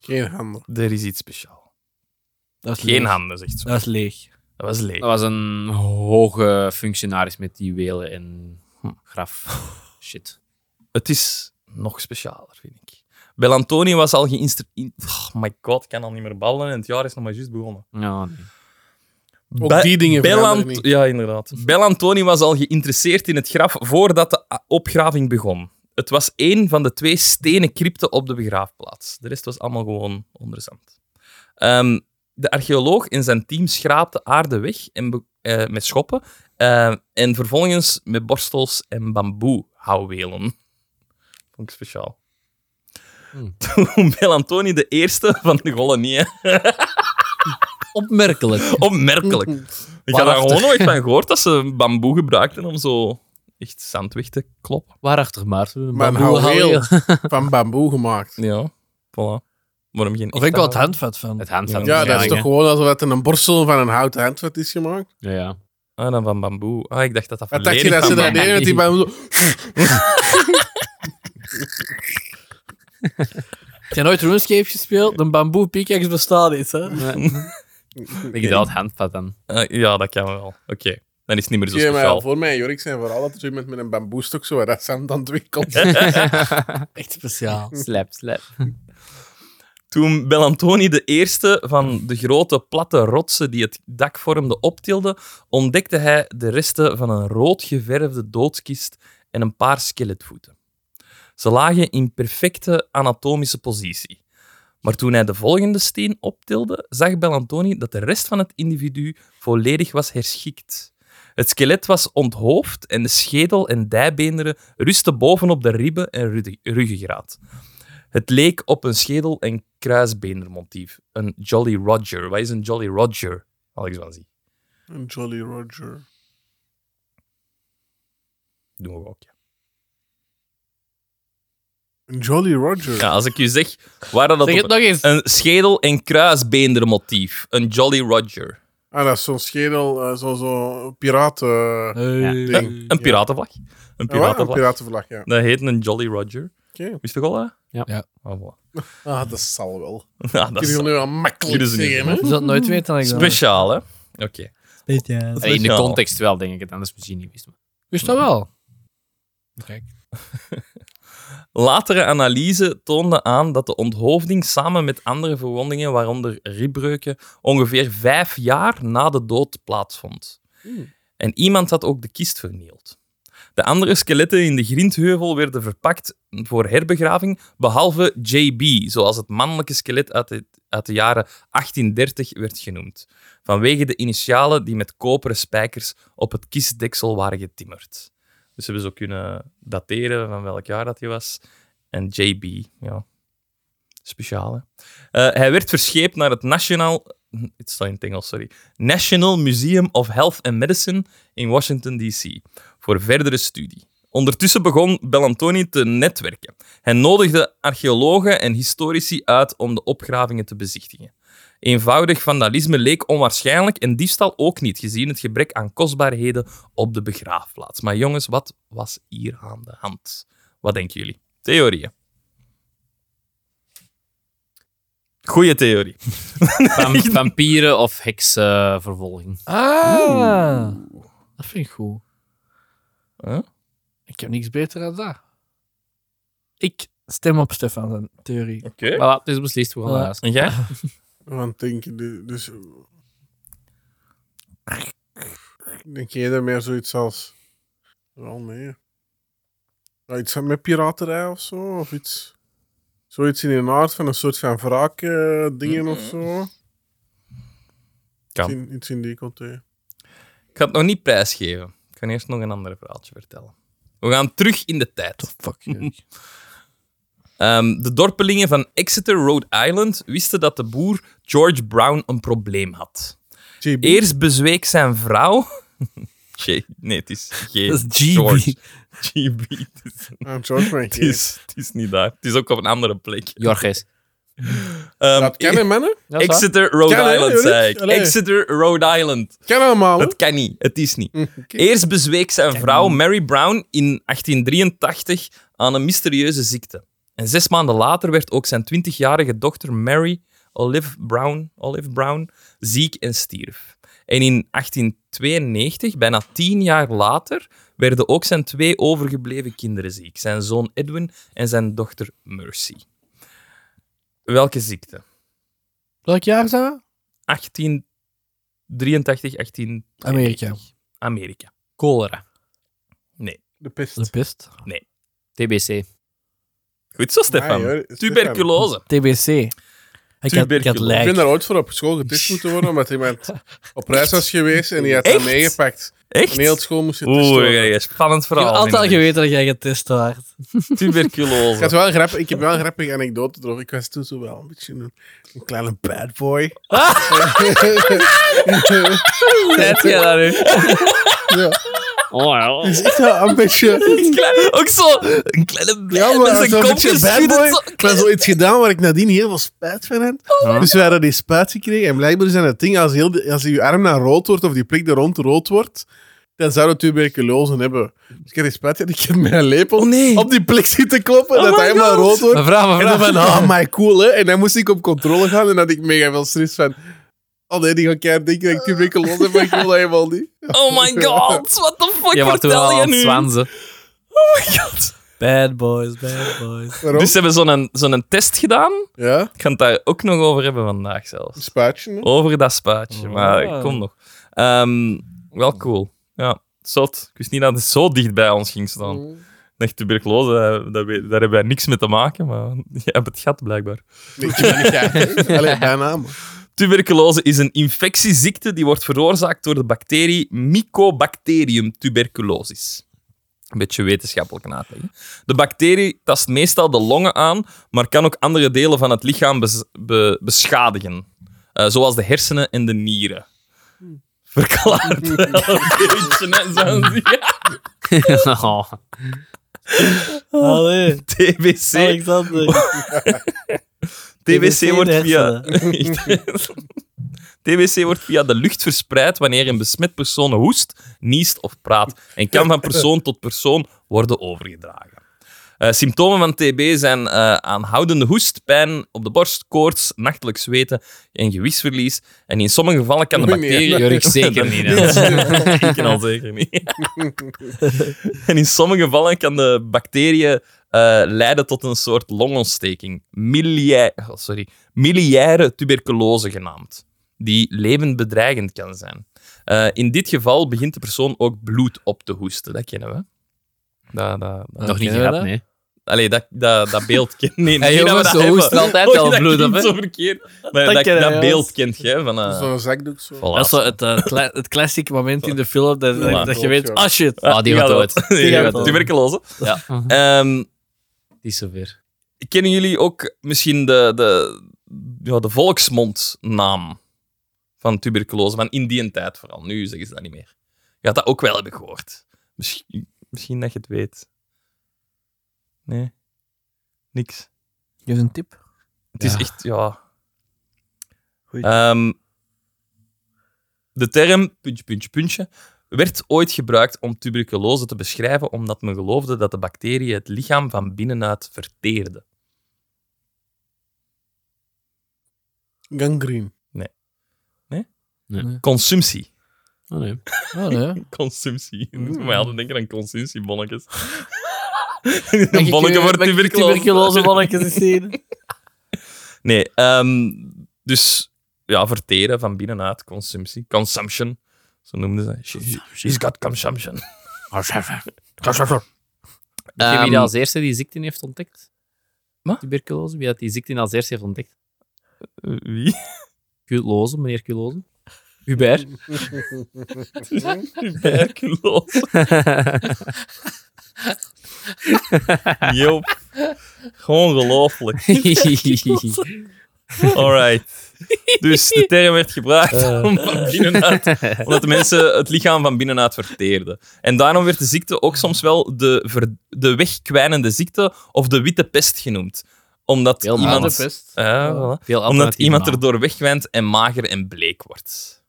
Speaker 3: Geen handen.
Speaker 1: Er is iets speciaal.
Speaker 5: Dat is
Speaker 1: Geen
Speaker 5: leeg.
Speaker 1: handen, zegt zo.
Speaker 5: Dat is leeg.
Speaker 1: Dat was leeg.
Speaker 4: Dat was een hoge functionaris met juwelen en graf. Shit.
Speaker 1: het is nog specialer, vind ik. Bellantoni was al geïnstrueerd. Oh my god, ik kan al niet meer ballen en het jaar is nog maar juist begonnen.
Speaker 4: Ja,
Speaker 3: Ook
Speaker 1: Be-
Speaker 3: die dingen veranderen
Speaker 1: Bellant,
Speaker 3: niet.
Speaker 1: ja, inderdaad. Bellantoni was al geïnteresseerd in het graf voordat de a- opgraving begon. Het was één van de twee stenen crypten op de begraafplaats. De rest was allemaal gewoon onder zand. Ehm, de archeoloog en zijn team schraapte aarde weg en be- eh, met schoppen eh, en vervolgens met borstels en bamboe houwelen. Vond ik speciaal.
Speaker 4: Hmm.
Speaker 1: *laughs* Toen Bellantoni de eerste van de kolonieën
Speaker 4: Opmerkelijk.
Speaker 1: Opmerkelijk. Ik had daar
Speaker 4: Waarachtig.
Speaker 1: gewoon nooit van gehoord dat ze bamboe gebruikten om zo echt zand weg te kloppen.
Speaker 4: Waarachtig, Maarten.
Speaker 3: Maar een
Speaker 4: Bamboe
Speaker 3: houweel.
Speaker 4: houweel.
Speaker 3: *laughs* Van bamboe gemaakt.
Speaker 1: Ja, voilà. Waarom geen
Speaker 5: Of ik wel het handvat van.
Speaker 4: Het handvat.
Speaker 3: Ja, dat is toch
Speaker 4: hè?
Speaker 3: gewoon alsof het een borstel van een houten handvat is gemaakt.
Speaker 4: Ja, ja.
Speaker 1: Ah, dan van bamboe. Ah, ik dacht dat dat
Speaker 3: Wat dacht je
Speaker 1: volledig
Speaker 3: dat ze
Speaker 1: van
Speaker 3: dat
Speaker 1: bamboe-
Speaker 3: deden met die bamboe?
Speaker 2: Heb je nooit RuneScape gespeeld? Een bamboe pickaxe bestaat niet, hè?
Speaker 4: *laughs* Ik dacht handvat dan.
Speaker 1: Ah, ja, dat kan wel. Oké. Dan is het niet meer zo
Speaker 3: Zie je mij al
Speaker 1: speciaal.
Speaker 3: voor mij, Jorik, zijn vooral dat er zo iemand met een bamboestok zo wat dat zand *laughs* aan het wikkelt.
Speaker 2: Echt speciaal.
Speaker 4: Slap, slap.
Speaker 1: Toen Bellantoni de eerste van de grote platte rotsen die het dak vormden optilde, ontdekte hij de resten van een rood geverfde doodskist en een paar skeletvoeten. Ze lagen in perfecte anatomische positie. Maar toen hij de volgende steen optilde, zag Bellantoni dat de rest van het individu volledig was herschikt. Het skelet was onthoofd en de schedel en dijbeenderen rustten bovenop de ribben en rudde- ruggengraat. Het leek op een schedel- en kruisbeendermotief. Een Jolly Roger. Wat is een Jolly Roger? Alex van Zie.
Speaker 3: Een Jolly Roger.
Speaker 1: Doen we ook. Ja.
Speaker 3: Een Jolly Roger.
Speaker 1: Ja, als ik u zeg waar dat op...
Speaker 2: Zeg het nog eens.
Speaker 1: Een schedel- en kruisbeendermotief. Een Jolly Roger.
Speaker 3: Ah, dat is zo'n schedel, eh, zo zo'n piraten...
Speaker 2: Hey.
Speaker 3: Ja.
Speaker 1: Een, een piratenvlag.
Speaker 2: Ah,
Speaker 1: Een
Speaker 3: Ja, wel, een
Speaker 1: piratenvlag.
Speaker 3: piratenvlag, ja.
Speaker 1: Dat heet een Jolly Roger.
Speaker 3: Oké.
Speaker 1: Wist je al dat?
Speaker 4: Ja.
Speaker 5: Ja.
Speaker 1: Ah, voilà. *laughs*
Speaker 3: Ah, dat zal wel.
Speaker 1: Ja, dat
Speaker 3: Dat
Speaker 1: is
Speaker 3: kunnen nu wel makkelijk
Speaker 1: Jullie zijn
Speaker 3: zeggen,
Speaker 1: niet
Speaker 3: hè?
Speaker 5: Je zult het nooit weten, Alexander.
Speaker 1: speciaal, hè? Oké.
Speaker 2: Speciaal.
Speaker 4: Allee, In de
Speaker 1: Ja.
Speaker 4: context wel, denk ik het. Anders misschien niet wist.
Speaker 5: Wist dat wel? Kijk.
Speaker 1: Latere analyse toonde aan dat de onthoofding samen met andere verwondingen, waaronder ribbreuken, ongeveer vijf jaar na de dood plaatsvond. En iemand had ook de kist vernield. De andere skeletten in de grindheuvel werden verpakt voor herbegraving, behalve JB, zoals het mannelijke skelet uit de, uit de jaren 1830 werd genoemd, vanwege de initialen die met koperen spijkers op het kistdeksel waren getimmerd. Dus ze hebben zo kunnen dateren van welk jaar dat hij was. En JB, ja. Speciaal, hè? Eh, hij werd verscheept naar het National... Het staat in het Engels, sorry. National Museum of Health and Medicine in Washington, D.C. voor verdere studie. Ondertussen begon Bellantoni te netwerken. Hij nodigde archeologen en historici uit om de opgravingen te bezichtigen. Eenvoudig vandalisme leek onwaarschijnlijk en diefstal ook niet, gezien het gebrek aan kostbaarheden op de begraafplaats. Maar jongens, wat was hier aan de hand? Wat denken jullie? Theorieën. Goeie theorie.
Speaker 4: Vam- vampieren of heksvervolging.
Speaker 5: Ah. Dat vind ik goed.
Speaker 1: Huh?
Speaker 5: Ik heb niks beter dan dat. Ik stem op Stefan zijn theorie.
Speaker 1: Oké.
Speaker 4: Maar wat, het is beslist. We gaan naar huis.
Speaker 1: En jij?
Speaker 3: Want denk je, du- dus... Denk jij er meer zoiets als... Wel, nee. Ja, iets met piraterij of zo, of iets... Zoiets in de aard van een soort van wraak eh, dingen of zo.
Speaker 1: Kan.
Speaker 3: Iets in, iets in die context.
Speaker 1: Ik ga het nog niet prijsgeven. Ik ga eerst nog een ander verhaaltje vertellen. We gaan terug in de tijd.
Speaker 5: Fuck. *laughs* Erik.
Speaker 1: Ehm, de dorpelingen van Exeter, Rhode Island, wisten dat de boer George Brown een probleem had.
Speaker 3: JB.
Speaker 1: Eerst bezweek zijn vrouw... *laughs* J- nee, het is G.
Speaker 5: Dat is GB.
Speaker 1: George. GB. Het is,
Speaker 3: Ah, George mijn
Speaker 1: *laughs* het is, het is niet daar. Het is ook op een andere plek.
Speaker 4: Jorges.
Speaker 1: Ehm,
Speaker 3: Dat kan hè, mannen?
Speaker 4: Dat is waar.
Speaker 1: Exeter, Rhode
Speaker 3: Kan, hè,
Speaker 1: Island,
Speaker 3: Jorik?
Speaker 1: zei ik.
Speaker 3: Allee.
Speaker 1: Exeter, Rhode Island.
Speaker 3: Kan allemaal, hè?
Speaker 1: Het kan niet. Het is niet. Eerst bezweek zijn vrouw Mary Brown in 1883 aan een mysterieuze ziekte. En zes maanden later werd ook zijn 20-jarige dochter Mary Olive Brown, Olive Brown ziek en stierf. En in 1892, bijna tien jaar later, werden ook zijn twee overgebleven kinderen ziek. Zijn zoon Edwin en zijn dochter Mercy. Welke ziekte?
Speaker 5: Welk jaar zijn we?
Speaker 1: 18 83, 18...
Speaker 5: Amerika.
Speaker 1: Amerika.
Speaker 4: Cholera.
Speaker 3: De pest.
Speaker 5: De pest.
Speaker 4: TBC.
Speaker 1: Goed zo, Stefan.
Speaker 3: Nee, hoor, Stefan.
Speaker 1: Tuberculose.
Speaker 5: TBC. Ik had, ik had
Speaker 1: Tuberculose.
Speaker 3: Ik ben
Speaker 5: lijk.
Speaker 3: daar ooit voor op school getest moeten worden,
Speaker 5: *laughs*
Speaker 3: omdat iemand op reis was geweest en die had dat
Speaker 1: Echt?
Speaker 3: meegepakt.
Speaker 1: Echt?
Speaker 3: En heel het school moest getest
Speaker 1: Oeh,
Speaker 3: worden.
Speaker 1: ja, ja, spannend
Speaker 5: Ik heb
Speaker 1: verhaal.
Speaker 5: altijd
Speaker 1: inderdaad.
Speaker 5: geweten dat jij getest werd.
Speaker 3: Ik, had
Speaker 1: Tuberculose.
Speaker 3: wel een grappig, ik heb wel een grappige anekdote erover. Ik was toen zo wel een beetje een, een kleine bad boy. *laughs*
Speaker 4: Tijd jij daar nu?
Speaker 3: ja.
Speaker 4: Oh ja.
Speaker 3: Dus ik wel een beetje...
Speaker 1: Een klein- Ook zo, een kleine
Speaker 3: Ja,
Speaker 1: blij met
Speaker 3: maar
Speaker 1: zijn
Speaker 3: zo'n
Speaker 1: kop
Speaker 3: beetje bad boy.
Speaker 1: geschudden. zo. Oh.
Speaker 3: Ik had zoiets gedaan waar ik nadien heel veel spijt van had. Dus we hadden die spuit gekregen. En blijkbaar is dat het ding, als, heel de- als je arm naar rood wordt of die prik er rond rood wordt, dan zou het tuberculose hebben. Dus ik had die spuit en ik heb mijn lepel
Speaker 1: Oh, nee. Oh
Speaker 3: op die prik zitten kloppen, dat hij helemaal rood wordt.
Speaker 4: Mevrouw,
Speaker 3: En dan
Speaker 4: mevrouw.
Speaker 3: van, oh my cool hè. En dan moest ik op controle gaan en dan had ik mega veel stress van... Oh nee, die gaan keihard denken dat ik tuberculose heb, maar ik wil dat helemaal niet.
Speaker 1: Oh my god, what the fuck
Speaker 4: Je wordt toen
Speaker 1: vertel
Speaker 4: al
Speaker 1: je
Speaker 4: aan het
Speaker 1: nu?
Speaker 4: zwanzen.
Speaker 1: *laughs* Oh my god.
Speaker 5: Bad boys, bad
Speaker 3: *laughs*
Speaker 5: boys.
Speaker 3: Waarom?
Speaker 1: Dus ze hebben zo'n zo'n test gedaan.
Speaker 3: ja,
Speaker 1: Ik ga het daar ook nog over hebben vandaag zelfs.
Speaker 3: een spuitje. hè.
Speaker 1: Over dat spaatje, maar ik kom nog. Ehm, wel cool. Ja, zot. Ik wist niet dat het zo dicht bij ons ging staan.
Speaker 3: Mm.
Speaker 1: Ik dacht, tuberculose, eh, dat we- daar hebben wij niks mee te maken, maar *laughs* je hebt het gat blijkbaar.
Speaker 3: Nee, ik ben niet gek. Allee, bijna. maar.
Speaker 1: Tuberculose is een infectieziekte die wordt veroorzaakt door de bacterie Mycobacterium tuberculosis. Een beetje wetenschappelijk uitleggen. De bacterie tast meestal de longen aan, maar kan ook andere delen van het lichaam bes- be- beschadigen. Eh, zoals de hersenen en de nieren. Verklaart wel een beetje, hè, zo'n ziek-
Speaker 4: Oh.
Speaker 5: Allee, Oh,
Speaker 1: TBC.
Speaker 5: Alexander.
Speaker 1: TBC wordt
Speaker 5: in de
Speaker 1: via... *laughs*
Speaker 3: *laughs*
Speaker 1: TBC wordt via de lucht verspreid wanneer een besmet persoon hoest, niest of praat en kan van persoon tot persoon worden overgedragen. Eh, symptomen van TB zijn eh, aanhoudende hoest, pijn op de borst, koorts, nachtelijk zweten en gewichtsverlies. En in sommige gevallen kan de
Speaker 3: Oei, nee. *laughs*
Speaker 5: *laughs*
Speaker 1: bacterie...
Speaker 4: Jurk, zeker niet, hè.
Speaker 1: ik ken al zeker niet.
Speaker 3: *laughs*
Speaker 1: en in sommige gevallen kan de bacteriën eh, leiden tot een soort longontsteking. Milia- oh, sorry. Miliaire tuberculose genaamd. Die levendbedreigend kan zijn. Eh, in dit geval begint de persoon ook bloed op te hoesten. Dat kennen we. Dat, dat, dat.
Speaker 4: Nog niet
Speaker 5: Kennen we
Speaker 4: gehad,
Speaker 5: dat?
Speaker 4: nee.
Speaker 1: Allee, dat, dat, dat
Speaker 4: *laughs*
Speaker 1: beeld kent niet.
Speaker 4: Hey,
Speaker 1: Niet dat we
Speaker 4: jongens,
Speaker 1: dat
Speaker 4: ze hoesten
Speaker 1: hebben. *laughs*
Speaker 4: altijd
Speaker 1: Oh,
Speaker 4: al
Speaker 1: dat
Speaker 4: bloed op,
Speaker 1: klinkt
Speaker 4: hè?
Speaker 1: zo verkeerd. Maar
Speaker 5: Dat
Speaker 1: dat,
Speaker 5: kennen
Speaker 1: dat
Speaker 5: we,
Speaker 1: beeld kent je. hè, Van, eh, *laughs*
Speaker 3: Zo'n zakdoek zo.
Speaker 1: voilà.
Speaker 5: Dat
Speaker 4: Ah,
Speaker 5: is zo het, eh, kle- het classic moment in de film dat, dat-
Speaker 1: Ja.
Speaker 5: dat je weet,
Speaker 3: Ja.
Speaker 5: ah shit.
Speaker 4: Ah, die gaat dood.
Speaker 1: Die
Speaker 5: Die
Speaker 1: gaat
Speaker 5: gaat
Speaker 1: dood.
Speaker 5: dood.
Speaker 1: Tuberculose.
Speaker 4: Ja.
Speaker 1: Ehm,
Speaker 4: Die is zover.
Speaker 1: kennen jullie ook misschien de, de, ja, de volksmondnaam van tuberculose? Van in die tijd vooral. Nu zeggen ze dat niet meer. Je had dat ook wel hebben gehoord. Misschien, misschien dat je het weet. Nee. Niks.
Speaker 5: Geef een tip.
Speaker 1: Het is
Speaker 4: Ja.
Speaker 1: echt, ja.
Speaker 5: Goeie.
Speaker 1: Ehm, de term puntje, puntje, puntje werd ooit gebruikt om tuberculose te beschrijven omdat men geloofde dat de bacteriën het lichaam van binnenuit verteerden.
Speaker 3: Gangreen.
Speaker 1: Consumptie.
Speaker 4: Oh, nee.
Speaker 5: Oh, nee.
Speaker 1: Consumptie.
Speaker 3: Mm.
Speaker 1: *laughs* Maar ja, dan denken aan consumptiebonnetjes.
Speaker 5: Mag
Speaker 1: Een
Speaker 5: ik
Speaker 1: bonnetje
Speaker 5: u- mag
Speaker 1: voor
Speaker 5: ik
Speaker 1: tuberculose.
Speaker 5: Tuberculose bonnetjes eens zien.
Speaker 1: *laughs* Nee, ehm, dus ja, verteren van binnenuit, consumptie. Consumption, zo noemden ze. She- She's got consumption.
Speaker 4: Weet je wie
Speaker 1: Ehm,
Speaker 4: dat als eerste die ziekte heeft ontdekt?
Speaker 1: Wat?
Speaker 4: Tuberculose. Wie dat die ziekte als eerste heeft ontdekt?
Speaker 1: Eh, Wie?
Speaker 4: Culose, meneer Culose.
Speaker 1: *laughs*
Speaker 4: Hubert.
Speaker 1: Tuberculose. Joop. Ongelooflijk. Alright. Dus de term werd gebruikt om van binnenuit, omdat de mensen het lichaam van binnenuit verteerden. En daarom werd de ziekte ook soms wel de, ver- de wegkwijnende ziekte of de witte pest genoemd. Omdat
Speaker 4: Heel
Speaker 1: iemand,
Speaker 4: matig.
Speaker 5: best.
Speaker 1: Ja, voilà.
Speaker 4: Veel
Speaker 1: Omdat
Speaker 4: alternatieve
Speaker 1: iemand
Speaker 4: namen.
Speaker 1: erdoor wegwijnt en mager en bleek wordt.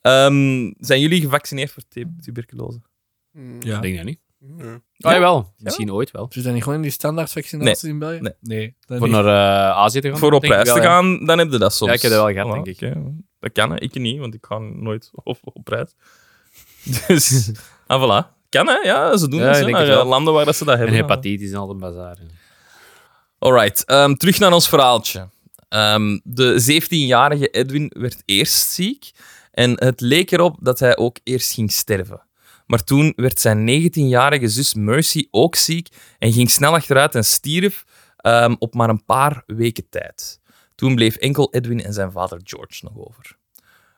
Speaker 1: Ehm, zijn jullie gevaccineerd voor tu- tuberculose?
Speaker 3: Ja.
Speaker 5: Ja.
Speaker 4: Ik denk dat niet.
Speaker 3: Ja.
Speaker 4: Ah, jawel. Misschien ooit wel.
Speaker 5: Zit dat Dus niet gewoon in die standaardvaccinaties in België?
Speaker 1: Nee.
Speaker 5: dat
Speaker 4: Voor
Speaker 5: niet.
Speaker 4: naar eh, Azië te gaan?
Speaker 1: voor op
Speaker 4: denk ik
Speaker 1: reis
Speaker 4: wel,
Speaker 1: te
Speaker 4: ja.
Speaker 1: gaan, dan heb je dat soms.
Speaker 4: Ja, ik heb dat wel gehad,
Speaker 1: Voilà,
Speaker 4: denk
Speaker 1: oké. Dat kan, hè. ik niet, want ik ga nooit *laughs* op, op reis. Dus, *laughs* ah, voilà. Kan, hè? Ja, ze doen
Speaker 4: Ja,
Speaker 1: dat,
Speaker 4: ik
Speaker 1: hè,
Speaker 4: denk
Speaker 1: naar
Speaker 4: het wel.
Speaker 1: eh, landen waar dat ze dat
Speaker 4: En
Speaker 1: hebben.
Speaker 4: hepatitis en al een bazaar.
Speaker 1: Alright, ehm, terug naar ons verhaaltje. Ehm, de 17-jarige Edwin werd eerst ziek En het leek erop dat hij ook eerst ging sterven. Maar toen werd zijn 19-jarige zus Mercy ook ziek en ging snel achteruit en stierf ehm, op maar een paar weken tijd. Toen bleef enkel Edwin en zijn vader George nog over.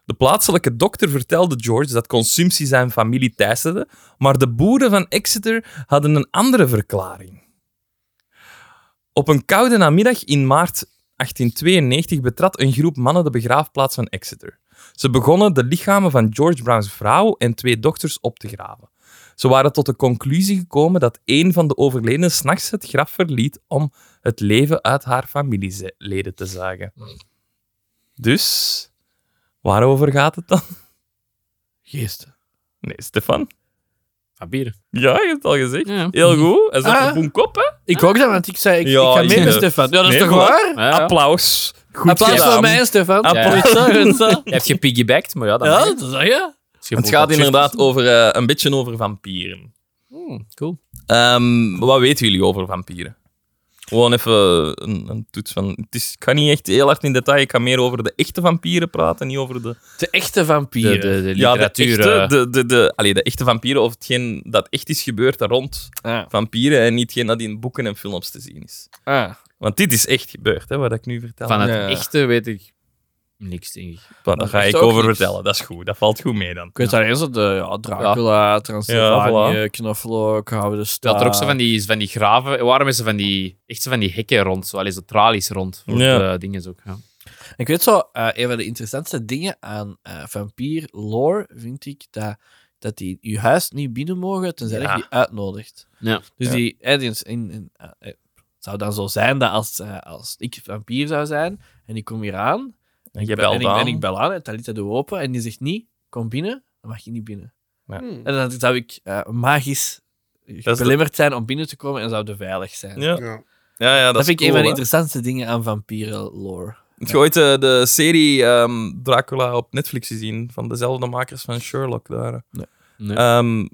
Speaker 1: De plaatselijke dokter vertelde George dat consumptie zijn familie teisterde, maar de boeren van Exeter hadden een andere verklaring. Op een koude namiddag in maart 1892 betrad een groep mannen de begraafplaats van Exeter. Ze begonnen de lichamen van George Brown's vrouw en twee dochters op te graven. Ze waren tot de conclusie gekomen dat één van de overledenen s'nachts het graf verliet om het leven uit haar familieleden te zagen. Dus, waarover gaat het dan?
Speaker 5: Geesten.
Speaker 1: Nee, Stefan.
Speaker 4: Van bieren.
Speaker 1: Ja, je hebt het al gezegd.
Speaker 4: Ja.
Speaker 1: Heel goed. Hij zat
Speaker 5: Ah.
Speaker 1: op een kop, hè?
Speaker 5: Ik ook dat, want ik zei, ik,
Speaker 1: Ja,
Speaker 5: ik ga
Speaker 1: ik,
Speaker 5: mee met
Speaker 1: eh,
Speaker 5: Stefan. Ja, dat is
Speaker 1: nee,
Speaker 5: toch
Speaker 1: maar-
Speaker 5: waar?
Speaker 4: Ja, ja.
Speaker 1: Applaus. Goed
Speaker 5: Applaus
Speaker 1: gedaan.
Speaker 5: voor mij, Stefan.
Speaker 1: Applaus.
Speaker 4: Ja.
Speaker 5: Goed zo, goed
Speaker 4: *laughs*
Speaker 5: zo.
Speaker 4: Je hebt gepiggybacked, maar ja, dan
Speaker 5: Ja, dat zeg je.
Speaker 4: Dus je
Speaker 1: Het
Speaker 4: voelt
Speaker 1: gaat
Speaker 4: dat
Speaker 1: inderdaad over, eh, een beetje over vampieren.
Speaker 4: Hmm, cool.
Speaker 1: Ehm, wat weten jullie over vampieren? Gewoon even een, een toets van. Het is, ik ga niet echt heel hard in detail. Ik ga meer over de echte vampieren praten, niet over de.
Speaker 5: De echte
Speaker 4: De,
Speaker 5: vampier.
Speaker 4: de, de
Speaker 1: Ja, de
Speaker 4: literatuur.
Speaker 1: echte,
Speaker 4: eh,
Speaker 1: de, de, de, allee, de echte vampieren of hetgeen dat echt is gebeurd rond
Speaker 5: Ah.
Speaker 1: vampieren en niet hetgeen dat in boeken en films te zien is.
Speaker 5: Ah.
Speaker 1: Want dit is echt gebeurd, hè, wat ik nu vertel.
Speaker 4: van het
Speaker 5: Ja.
Speaker 4: echte weet ik niks, denk ik.
Speaker 1: Voilà, daar ga
Speaker 5: dat is
Speaker 1: ik
Speaker 5: ook
Speaker 1: over
Speaker 5: niks.
Speaker 1: vertellen. Dat is goed, dat valt goed mee dan.
Speaker 5: Ik weet alleen zo de ja, Dracula, Transylvanië, Knoflook, Gouden Staat.
Speaker 4: Dat er ook zo van die, van die graven... Waarom is er van die, echt zo van die hekken rond? Zo, allee, zo tralies rond. Voor
Speaker 1: Ja.
Speaker 4: de dingen ook. Ja.
Speaker 5: Ik weet zo, eh, een van de interessantste dingen aan eh vampier lore vind ik dat, dat die je huis niet binnen mogen tenzij
Speaker 1: Ja.
Speaker 5: je die uitnodigt.
Speaker 4: Ja.
Speaker 5: Dus
Speaker 1: Ja.
Speaker 5: die aliens in, in- eh, eh, zou dan zo zijn dat als, eh, als ik vampier zou zijn en ik kom hier aan
Speaker 1: En je
Speaker 5: en
Speaker 1: belt
Speaker 5: ik, en
Speaker 1: aan.
Speaker 5: ik bel aan en Talita doet open en die zegt niet, kom binnen, dan mag je niet binnen.
Speaker 3: Hmm.
Speaker 5: En dan zou ik eh, magisch
Speaker 1: de-
Speaker 5: belemmerd zijn om binnen te komen en zouden veilig zijn.
Speaker 1: Ja.
Speaker 3: Ja.
Speaker 1: Ja, ja, dat,
Speaker 5: dat,
Speaker 1: is
Speaker 5: vind ik
Speaker 1: cool,
Speaker 5: een van de
Speaker 1: hè.
Speaker 5: interessantste dingen aan vampieren lore.
Speaker 1: Heb je ooit eh, de serie ehm, Dracula op Netflix gezien? Van dezelfde makers van Sherlock daar.
Speaker 5: Nee.
Speaker 4: Nee.
Speaker 1: Ehm,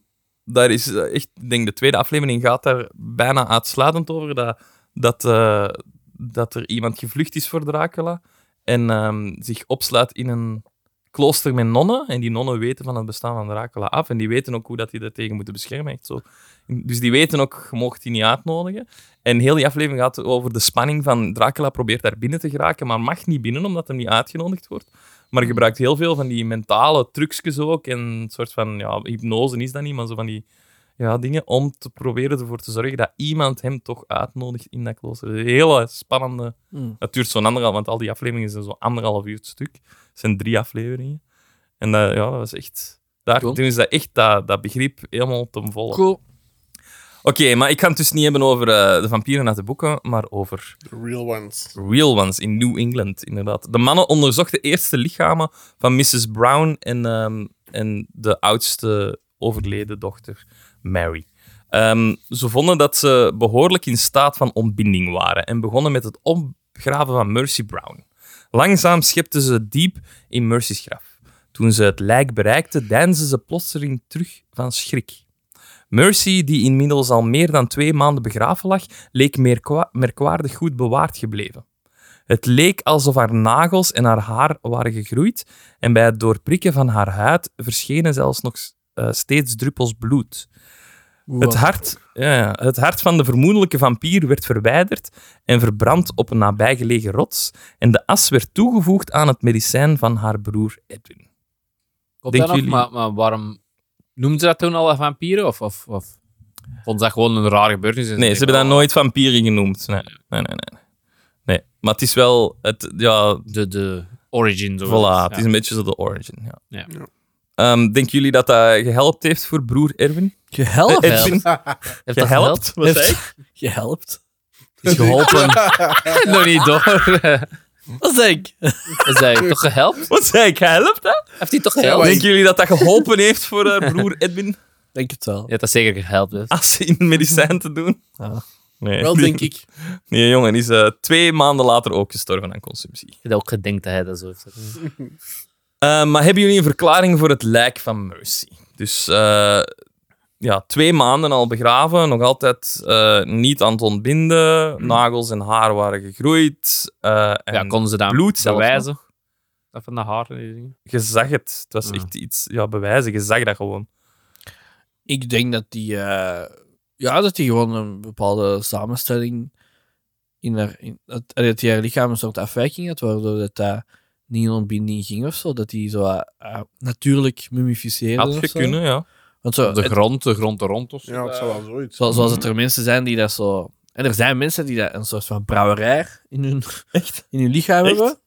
Speaker 1: daar is eh, echt, ik denk de tweede aflevering gaat daar bijna uitsluitend over. Dat, dat, eh, dat er iemand gevlucht is voor Dracula en ehm, zich opsluit in een klooster met nonnen. En die nonnen weten van het bestaan van Dracula af. En die weten ook hoe dat die dat tegen moeten beschermen. Echt zo. Dus die weten ook, je mocht die niet uitnodigen. En heel die aflevering gaat over de spanning van Dracula probeert daar binnen te geraken, maar mag niet binnen omdat hem niet uitgenodigd wordt. Maar gebruikt heel veel van die mentale trucjes ook en een soort van, ja, hypnose is dat niet, maar zo van die ja, dingen om te proberen ervoor te zorgen dat iemand hem toch uitnodigt in dat klooster. Een hele spannende...
Speaker 5: Hmm.
Speaker 1: Het duurt zo'n anderhalf, want al die afleveringen zijn zo'n anderhalf uur het stuk. Het zijn drie afleveringen. En dat, ja, dat was echt... Daar
Speaker 5: Cool.
Speaker 1: doen ze dat echt dat, dat begrip helemaal ten volle.
Speaker 5: Cool.
Speaker 1: Oké, maar ik ga het dus niet hebben over eh, de vampieren uit de boeken, maar over
Speaker 3: The real ones.
Speaker 1: real ones in New England, inderdaad. De mannen onderzochten eerst de lichamen van Mrs. Brown en, ehm, en de oudste overleden dochter, Mary. Ehm, ze vonden dat ze behoorlijk in staat van ontbinding waren en begonnen met het opgraven van Mercy Brown. Langzaam schepten ze diep in Mercy's graf. Toen ze het lijk bereikten, deinsden ze plotseling terug van schrik. Mercy, die inmiddels al meer dan twee maanden begraven lag, leek merkwa- merkwaardig goed bewaard gebleven. Het leek alsof haar nagels en haar haar waren gegroeid en bij het doorprikken van haar huid verschenen zelfs nog eh, steeds druppels bloed. Het hart, ja, het hart van de vermoedelijke vampier werd verwijderd en verbrand op een nabijgelegen rots en de as werd toegevoegd aan het medicijn van haar broer Edwin.
Speaker 4: Klopt
Speaker 1: Denken
Speaker 4: dat nog?
Speaker 1: jullie-
Speaker 4: Maar, maar waarom noemden ze dat toen al vampieren? Of, of, of vond ze dat gewoon een rare gebeurtenis? en
Speaker 1: Nee, ze hebben
Speaker 4: denken,
Speaker 1: dat nooit vampieren genoemd. Nee, nee, nee. nee. nee. Maar het is wel... Het, ja,
Speaker 4: oh, De, de origin. zo.
Speaker 1: Voilà,
Speaker 4: Ja.
Speaker 1: het is een beetje zo de origin. Ja.
Speaker 4: Ja.
Speaker 3: Ja.
Speaker 1: Ehm, denken jullie dat dat gehelpt heeft voor broer Erwin?
Speaker 5: Gehelpt.
Speaker 1: Eh, Edwin,
Speaker 4: Heeft dat
Speaker 1: gehelpt?
Speaker 4: gehelpt?
Speaker 1: Wat zei ik?
Speaker 5: Gehelpt.
Speaker 4: Het is geholpen. nog niet door. *laughs*
Speaker 5: Wat zeg ik?
Speaker 4: Is hij toch gehelpt?
Speaker 1: Wat zei ik? Gehelpt, hè?
Speaker 4: Heeft hij toch
Speaker 3: Ja,
Speaker 4: gehelpt?
Speaker 3: maar-
Speaker 1: Denken jullie dat dat geholpen heeft voor eh, broer Edwin?
Speaker 5: Denk het wel.
Speaker 4: Ja, dat is zeker gehelpt. Dus.
Speaker 1: As in medicijn te doen?
Speaker 5: Ja.
Speaker 1: Nee.
Speaker 3: Wel,
Speaker 1: *laughs*
Speaker 3: denk ik.
Speaker 1: Nee, jongen, die is eh, twee maanden later ook gestorven aan consumptie.
Speaker 4: Ik had ook gedenkt dat hij dat zo heeft gezegd.
Speaker 1: Ehm, maar hebben jullie een verklaring voor het lijk van Mercy? Dus eh, ja, twee maanden al begraven, nog altijd eh, niet aan het
Speaker 3: Hmm.
Speaker 1: ontbinden. Nagels en haar waren gegroeid. eh, en
Speaker 4: Ja, konden ze dat
Speaker 1: bloed zelfs
Speaker 4: bewijzen? Dat van de haar en die dingen.
Speaker 1: Je zag het. Het was
Speaker 4: Ja.
Speaker 1: echt iets... Ja, bewijzen. Je zag dat gewoon.
Speaker 5: Ik denk dat die, eh, ja, dat die gewoon een bepaalde samenstelling in haar, in, dat, eh, dat die haar lichaam een soort afwijking had, waardoor dat dat niet in ontbinding ging of zo. Dat die zo eh, eh, natuurlijk mummificeerde.
Speaker 1: Had
Speaker 5: of
Speaker 1: je
Speaker 5: zo.
Speaker 1: kunnen, ja.
Speaker 5: Want zo,
Speaker 4: De
Speaker 5: het-
Speaker 4: grond, de grond, de rond. Of zo. Hmm.
Speaker 3: Ja, het zal wel zoiets.
Speaker 5: zo- zoals het er mensen zijn die dat zo. En er zijn mensen die dat een soort van brouwerij in
Speaker 4: *laughs*
Speaker 5: hun, in hun lichaam
Speaker 1: Echt?
Speaker 5: hebben.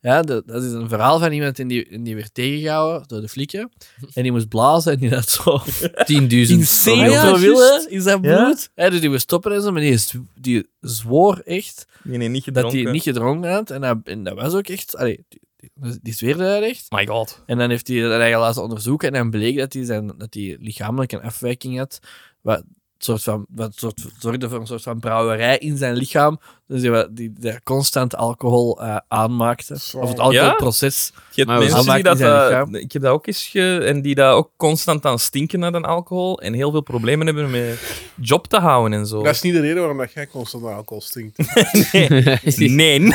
Speaker 5: Ja, de- dat is een verhaal van iemand en die, en die werd tegengehouden door de
Speaker 4: *laughs*
Speaker 5: flikken. En die moest blazen en die had zo
Speaker 4: 10.000.
Speaker 5: insane
Speaker 2: Ja,
Speaker 5: veel
Speaker 2: juist.
Speaker 5: willen is dat
Speaker 2: Ja.
Speaker 5: bloed. Ja. dus die moest stoppen en zo, maar die, is- die zwoer echt
Speaker 1: Nee, nee, niet
Speaker 5: dat
Speaker 1: gedronken.
Speaker 5: hij niet gedronken had. En dat, en dat was ook echt... Allee, die, die- die zweerde dat echt.
Speaker 1: My god.
Speaker 5: En dan heeft hij dat eigenlijk laten onderzoeken en dan bleek dat hij, zijn, dat hij lichamelijk een afwijking had. Wat, soort van, wat soort, zorgde voor een soort van brouwerij in zijn lichaam. Dus die, wa- die daar constant alcohol eh, aanmaakte.
Speaker 3: Zo.
Speaker 5: Of het alcoholproces.
Speaker 1: Je hebt
Speaker 4: Maar we
Speaker 1: mensen die
Speaker 5: zakken
Speaker 1: dat...
Speaker 5: zijn
Speaker 1: eh,
Speaker 5: lichaam.
Speaker 1: ik heb dat ook eens ge... En die dat ook constant aan stinken naar de alcohol. En heel veel problemen hebben met job te houden en zo.
Speaker 3: Dat is niet de reden waarom dat jij constant naar alcohol stinkt.
Speaker 4: *laughs*
Speaker 1: *laughs* Nee. *laughs*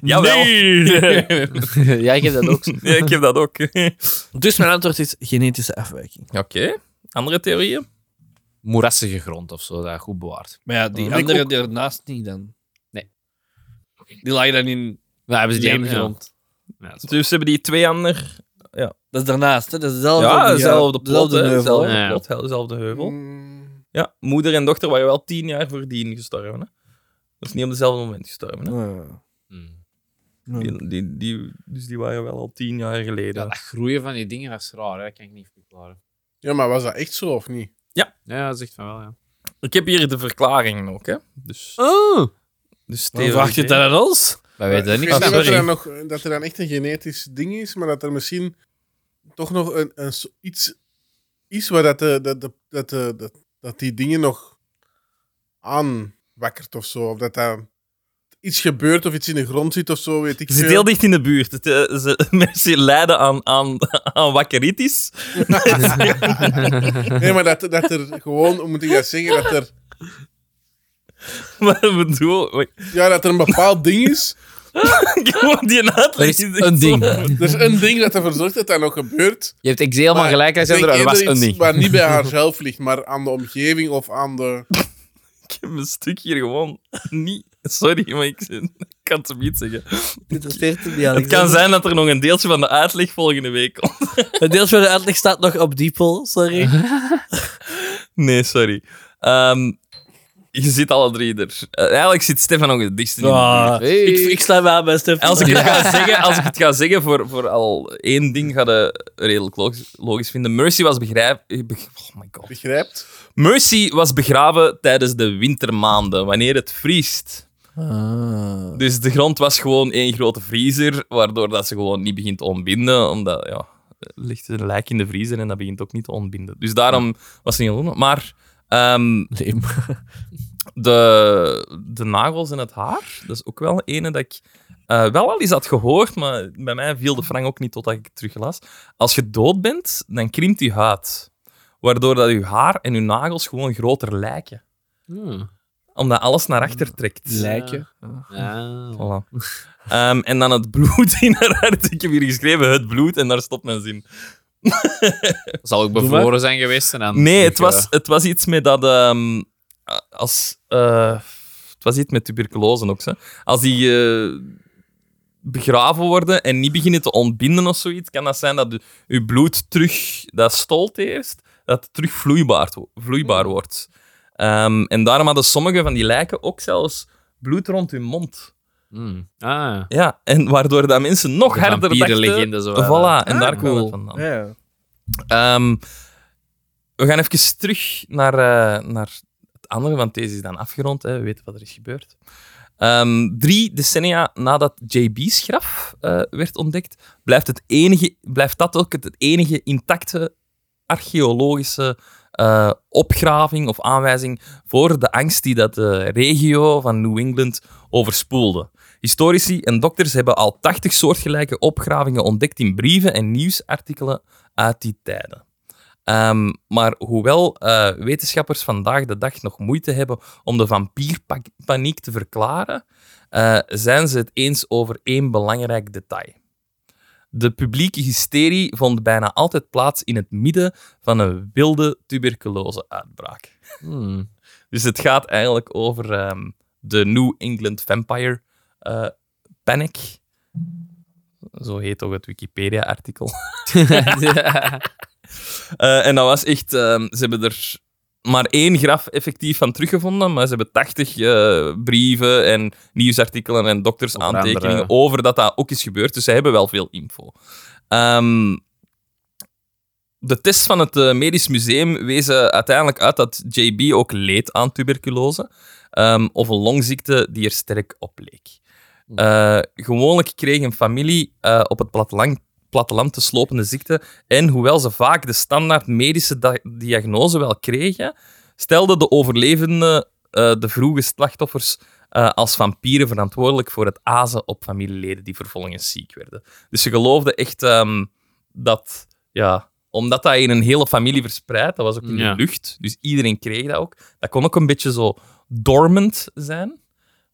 Speaker 1: Jawel.
Speaker 5: ja, ik heb dat ook.
Speaker 1: Ja, ik heb dat *laughs* ook. Oké.
Speaker 5: Dus mijn antwoord is genetische afwijking.
Speaker 1: Andere theorieën?
Speaker 4: Moerassige grond of zo, dat goed bewaard.
Speaker 5: Maar ja, die
Speaker 1: Ik
Speaker 5: andere
Speaker 1: Oh, ook.
Speaker 5: daarnaast niet dan.
Speaker 4: Nee.
Speaker 5: Die lag dan in
Speaker 4: Nou, hebben ze die
Speaker 5: die
Speaker 4: één grond.
Speaker 5: grond.
Speaker 4: Ja, dat is
Speaker 1: Dus hebben die twee andere...
Speaker 5: Dat is daarnaast, hè? Dat is dezelfde,
Speaker 1: Ja,
Speaker 5: die-
Speaker 1: dezelfde plot,
Speaker 5: dezelfde
Speaker 1: hè.
Speaker 5: heuvel,
Speaker 1: Dezelfde
Speaker 5: hè.
Speaker 4: Ja.
Speaker 1: plot, he- dezelfde heuvel.
Speaker 3: Mm,
Speaker 1: Ja, moeder en dochter waren wel tien jaar voordien gestorven. Hè? Dat is niet op dezelfde moment gestorven. Hè?
Speaker 5: Ja.
Speaker 4: wel- Mm.
Speaker 1: Die, die, die- dus die waren wel al tien jaar
Speaker 4: Ja,
Speaker 1: geleden.
Speaker 4: dat groeien van die dingen, dat is raar. Hè? Dat kan ik niet verklaren.
Speaker 3: Ja, maar was dat echt zo of niet?
Speaker 4: Ja, dat is echt van wel, ja.
Speaker 1: Ik heb hier de verklaring ook. Hè? Dus,
Speaker 5: Oh,
Speaker 1: dus
Speaker 5: dan vraagt je het
Speaker 1: theorie-
Speaker 5: dan aan ons?
Speaker 4: Wij weten dat
Speaker 3: Ik
Speaker 4: niet.
Speaker 3: weet
Speaker 1: Ah,
Speaker 3: dat, er
Speaker 1: sorry.
Speaker 3: dan nog, dat er dan echt een genetisch ding is, maar dat er misschien toch nog een, een, so- iets is waar dat, de, dat, de, dat, de, dat, dat die dingen nog aanwakkert of zo. Of dat daar iets gebeurt of iets in de grond zit of zo, weet ik
Speaker 1: Ze zit
Speaker 3: veel.
Speaker 1: heel dicht in de buurt. Het, eh, ze, *laughs* mensen lijden aan, aan, aan wakkeritis. *laughs*
Speaker 3: Nee, maar dat, dat er gewoon, hoe moet ik dat zeggen, dat er,
Speaker 1: Maar ik bedoel, wait,
Speaker 3: ja, dat er een bepaald ding is.
Speaker 1: ik moet die
Speaker 4: Er
Speaker 1: uitleg
Speaker 4: is
Speaker 1: is echt
Speaker 4: een
Speaker 1: zo-
Speaker 4: ding.
Speaker 3: Er is een ding dat ervoor zorgt dat dat nog gebeurt.
Speaker 4: Je hebt exact helemaal
Speaker 3: Maar
Speaker 4: gelijk, hij zei
Speaker 3: Ik denk
Speaker 4: er er was
Speaker 3: eerder
Speaker 4: een
Speaker 3: iets
Speaker 4: ding.
Speaker 3: Waar niet bij haarzelf ligt, maar aan de omgeving of aan de...
Speaker 1: *laughs* Ik heb een stuk hier gewoon niet. Sorry, maar ik, ik kan het hem niet zeggen.
Speaker 5: Dit is 14
Speaker 1: Het kan zijn dat er nog een deeltje van de uitleg volgende week komt.
Speaker 5: *laughs* Het deel van de uitleg staat nog op diepel, sorry.
Speaker 1: *laughs* Nee, sorry. Ehm, je zit alle drie er. Eh, eigenlijk zit Stefan nog het dichtst in. de buurt.
Speaker 4: Hey.
Speaker 5: Ik, ik sla me aan bij Stefan.
Speaker 1: Ah. Als ik
Speaker 5: *laughs*
Speaker 1: het ga zeggen, als ik het ga zeggen voor, voor al één ding, ga je redelijk logisch, logisch vinden. Mercy was begrijp... eh, beg- Oh my god.
Speaker 3: Begrijpt?
Speaker 1: Mercy was begraven tijdens de wintermaanden, wanneer het vriest.
Speaker 5: Ah.
Speaker 1: Dus de grond was gewoon één grote vriezer, waardoor dat ze gewoon niet begint te ontbinden, omdat ja, er ligt een lijk in de vriezer en dat begint ook niet te ontbinden. Dus daarom was het niet ontstaan. Maar ehm,
Speaker 5: Nee, maar-
Speaker 1: de, de nagels en het haar, dat is ook wel ene dat ik eh, wel al eens had gehoord, maar bij mij viel de frang ook niet totdat ik het teruglas. Als je dood bent, dan krimpt je huid, waardoor dat je haar en je nagels gewoon groter lijken,
Speaker 4: Hmm.
Speaker 1: omdat alles naar achter trekt.
Speaker 5: Lijken.
Speaker 4: Ja.
Speaker 1: Voilà. Ehm, en dan het bloed *laughs* in haar hart. Ik heb hier geschreven het bloed en daar stopt mijn zin.
Speaker 4: Zal ook bevroren zijn geweest? En dan
Speaker 1: Nee,
Speaker 4: terug,
Speaker 1: het was,
Speaker 4: eh,
Speaker 1: het was iets met dat. ehm, a- als, eh, het was iets met tuberculose ook. Zo. Als die eh, begraven worden en niet beginnen te ontbinden of zoiets, kan dat zijn dat je, je bloed terug. dat stolt eerst, dat het terug vloeibaar, wo- vloeibaar wordt. Ehm, en daarom hadden sommige van die lijken ook zelfs bloed rond hun mond.
Speaker 4: hmm. Ah.
Speaker 1: Ja, en waardoor dat mensen nog harder dachten...
Speaker 4: legende zo.
Speaker 1: Voilà, en daar kwam
Speaker 5: Ah, cool.
Speaker 1: het vandaan.
Speaker 5: Ja.
Speaker 1: Ehm, we gaan even terug naar, eh, naar het andere, want deze is dan afgerond. Hè. We weten wat er is gebeurd. Ehm, drie decennia nadat JB's graf eh, werd ontdekt, blijft, het enige, blijft dat ook het enige intacte archeologische eh, opgraving of aanwijzing voor de angst die dat de regio van New England overspoelde. Historici en dokters hebben al 80 soortgelijke opgravingen ontdekt in brieven en nieuwsartikelen uit die tijden. Ehm, maar hoewel eh, wetenschappers vandaag de dag nog moeite hebben om de vampierpaniek te verklaren, eh, zijn ze het eens over één belangrijk detail. De publieke hysterie vond bijna altijd plaats in het midden van een wilde tuberculose-uitbraak.
Speaker 4: Hmm.
Speaker 1: Dus het gaat eigenlijk over ehm, de New England Vampire eh, Panic. Zo heet toch het Wikipedia-artikel. Eh, en dat was echt... ehm, ze hebben er maar één graf effectief van teruggevonden, maar ze hebben 80 eh, brieven en nieuwsartikelen en doktersaantekeningen
Speaker 4: Over
Speaker 1: over,
Speaker 4: andere-
Speaker 1: dat dat ook is gebeurd. Dus ze hebben wel veel info. Ehm, de test van het eh, Medisch Museum wezen uiteindelijk uit dat JB ook leed aan tuberculose. ehm, of een longziekte die er sterk op leek. Eh, gewoonlijk kreeg een familie eh, op het platteland, platteland de slopende ziekte. En hoewel ze vaak de standaard medische da- diagnose wel kregen, stelden de overlevenden eh, de vroege slachtoffers eh, als vampieren verantwoordelijk voor het azen op familieleden die vervolgens ziek werden. Dus ze geloofden echt ehm, dat, ja, omdat dat in een hele familie verspreid, dat was ook in
Speaker 4: Ja.
Speaker 1: de lucht, dus iedereen kreeg dat ook. Dat kon ook een beetje zo dormant zijn,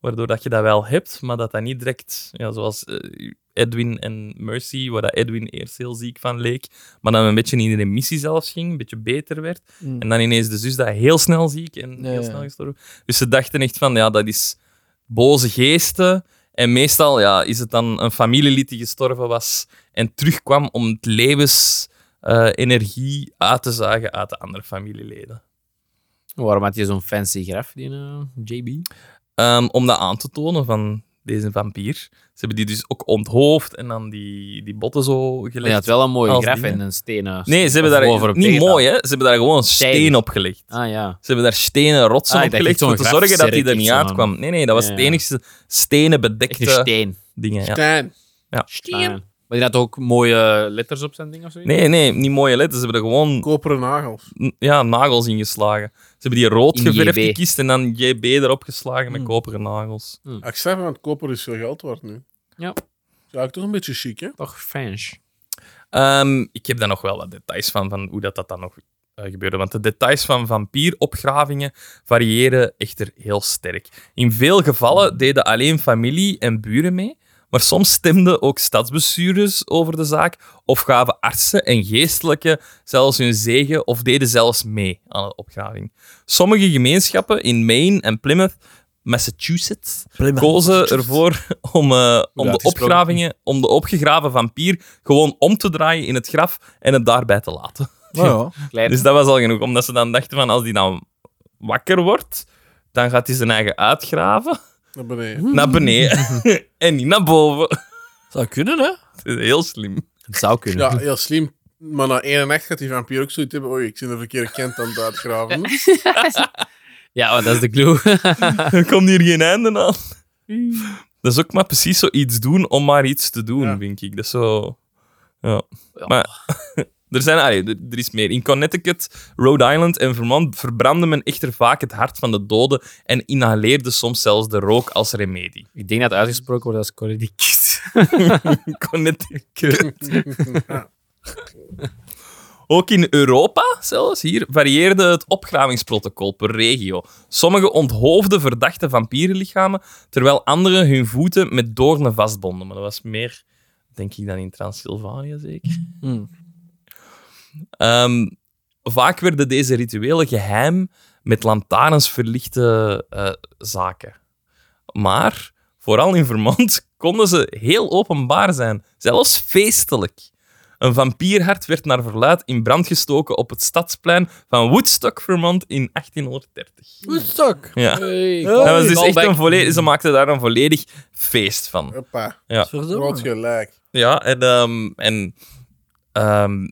Speaker 1: waardoor dat je dat wel hebt, maar dat dat niet direct, ja, zoals eh, Edwin en Mercy, waar dat Edwin eerst heel ziek van leek, maar dan een beetje in de remissie zelfs ging, een beetje beter werd.
Speaker 5: Mm.
Speaker 1: En dan ineens de zus dat heel snel ziek en
Speaker 5: Ja,
Speaker 1: heel
Speaker 5: ja.
Speaker 1: snel gestorven. Dus ze dachten echt van, ja, dat is boze geesten. En meestal ja, is het dan een familielid die gestorven was en terugkwam om het levensenergie uit te zagen uit de andere familieleden.
Speaker 4: Waarom had je zo'n fancy graf, die eh, JB?
Speaker 1: Ehm, om dat aan te tonen van deze vampier. Ze hebben die dus ook onthoofd en dan die, die botten zo
Speaker 4: Je had
Speaker 1: gelegd.
Speaker 4: wel een mooie
Speaker 1: Als
Speaker 4: graf
Speaker 1: dingen.
Speaker 4: en een stenen.
Speaker 1: Nee, ze hebben
Speaker 4: of
Speaker 1: daar
Speaker 4: over op
Speaker 1: niet
Speaker 4: tegen
Speaker 1: mooi, hè? Ze hebben daar gewoon een
Speaker 4: Steen.
Speaker 1: steen op gelegd.
Speaker 4: dan. Ah ja.
Speaker 1: Ze hebben daar stenen rotsen
Speaker 4: Ah, ik
Speaker 1: op
Speaker 4: dacht
Speaker 1: gelegd
Speaker 4: echt zo'n
Speaker 1: om te zorgen dat hij
Speaker 4: grafzerk,
Speaker 1: er niet
Speaker 4: echt zo'n-
Speaker 1: uitkwam. Nee, nee, dat was
Speaker 4: Ja,
Speaker 1: het
Speaker 4: ja.
Speaker 1: enigste stenen
Speaker 4: Echt een
Speaker 1: bedekte
Speaker 4: steen.
Speaker 1: dingen. Ja.
Speaker 3: Stijn.
Speaker 4: Steen. Maar die had ook mooie eh, letters op zijn ding of zo?
Speaker 1: Nee, nee, niet mooie letters. Ze hebben er gewoon
Speaker 3: Koperen nagels.
Speaker 1: n- ja, nagels in geslagen. Ze hebben die rood
Speaker 4: In Hmm.
Speaker 1: geverfd
Speaker 4: JB.
Speaker 1: die kist en dan JB erop geslagen met koperen nagels.
Speaker 3: Ik zeg maar, want koper is veel geld waard nu.
Speaker 4: Ja.
Speaker 3: Ja, ik toch een beetje chic, hè?
Speaker 4: Toch fans.
Speaker 1: Ehm, ik heb daar nog wel wat details van, van hoe dat, dat dan nog eh, gebeurde. Want de details van vampieropgravingen variëren echter heel sterk. In veel gevallen deden alleen familie en buren mee, maar soms stemden ook stadsbestuurders over de zaak of gaven artsen en geestelijken zelfs hun zegen of deden zelfs mee aan de opgraving. Sommige gemeenschappen in Maine en Plymouth, Massachusetts,
Speaker 5: *laughs*
Speaker 1: kozen ervoor om, eh, om, de
Speaker 4: uitgesproken.
Speaker 1: opgravingen, om de opgegraven vampier gewoon om te draaien in het graf en het daarbij te laten.
Speaker 5: Nou ja.
Speaker 4: Klein.
Speaker 1: Dus dat was al genoeg, omdat ze dan dachten van als die dan wakker wordt, dan gaat hij zijn eigen uitgraven
Speaker 3: Naar
Speaker 4: Mhm.
Speaker 3: beneden.
Speaker 1: naar beneden en niet naar boven. *laughs*
Speaker 5: Zou kunnen, hè?
Speaker 1: Dat is heel slim.
Speaker 4: Het zou kunnen.
Speaker 3: Ja, heel slim. Maar na één nacht gaat die vampier ook zoiets hebben. Oei, ik zit de verkeerde kant aan het uitgraven.
Speaker 4: Ja, want dat is de clue. *laughs*
Speaker 1: Er komt hier geen einde aan. Dat is ook maar precies zoiets doen om maar iets te doen,
Speaker 3: Ja.
Speaker 1: denk ik. Dat is zo... Ja. Maar *laughs* er, zijn, allee, er, er is meer. In Connecticut, Rhode Island en Vermont verbrandde men echter vaak het hart van de doden en inhaleerde soms zelfs de rook als remedie. *laughs*
Speaker 4: ik denk dat het uitgesproken wordt als Corridicus.
Speaker 1: Connecticut. Ook in Europa, zelfs hier, varieerde het opgravingsprotocol per regio. Sommige onthoofden verdachte vampierenlichamen, terwijl anderen hun voeten met doornen vastbonden. Maar dat was meer, denk ik, dan in Transylvanië zeker.
Speaker 5: Hmm.
Speaker 1: Ehm, vaak werden deze rituelen geheim met lantaarns verlichte eh, zaken. Maar, vooral in Vermont, *laughs* konden ze heel openbaar zijn, zelfs feestelijk. Een vampierhart werd naar verluid in brand gestoken op het stadsplein van Woodstock, Vermont in 1830.
Speaker 5: Woodstock.
Speaker 1: Ja.
Speaker 5: Hey,
Speaker 1: Dat was dus echt een volledig, ze maakten daar een volledig feest van.
Speaker 3: Hoppa, groot
Speaker 5: Verdomme.
Speaker 3: gelijk.
Speaker 1: Ja, en, ehm, en ehm,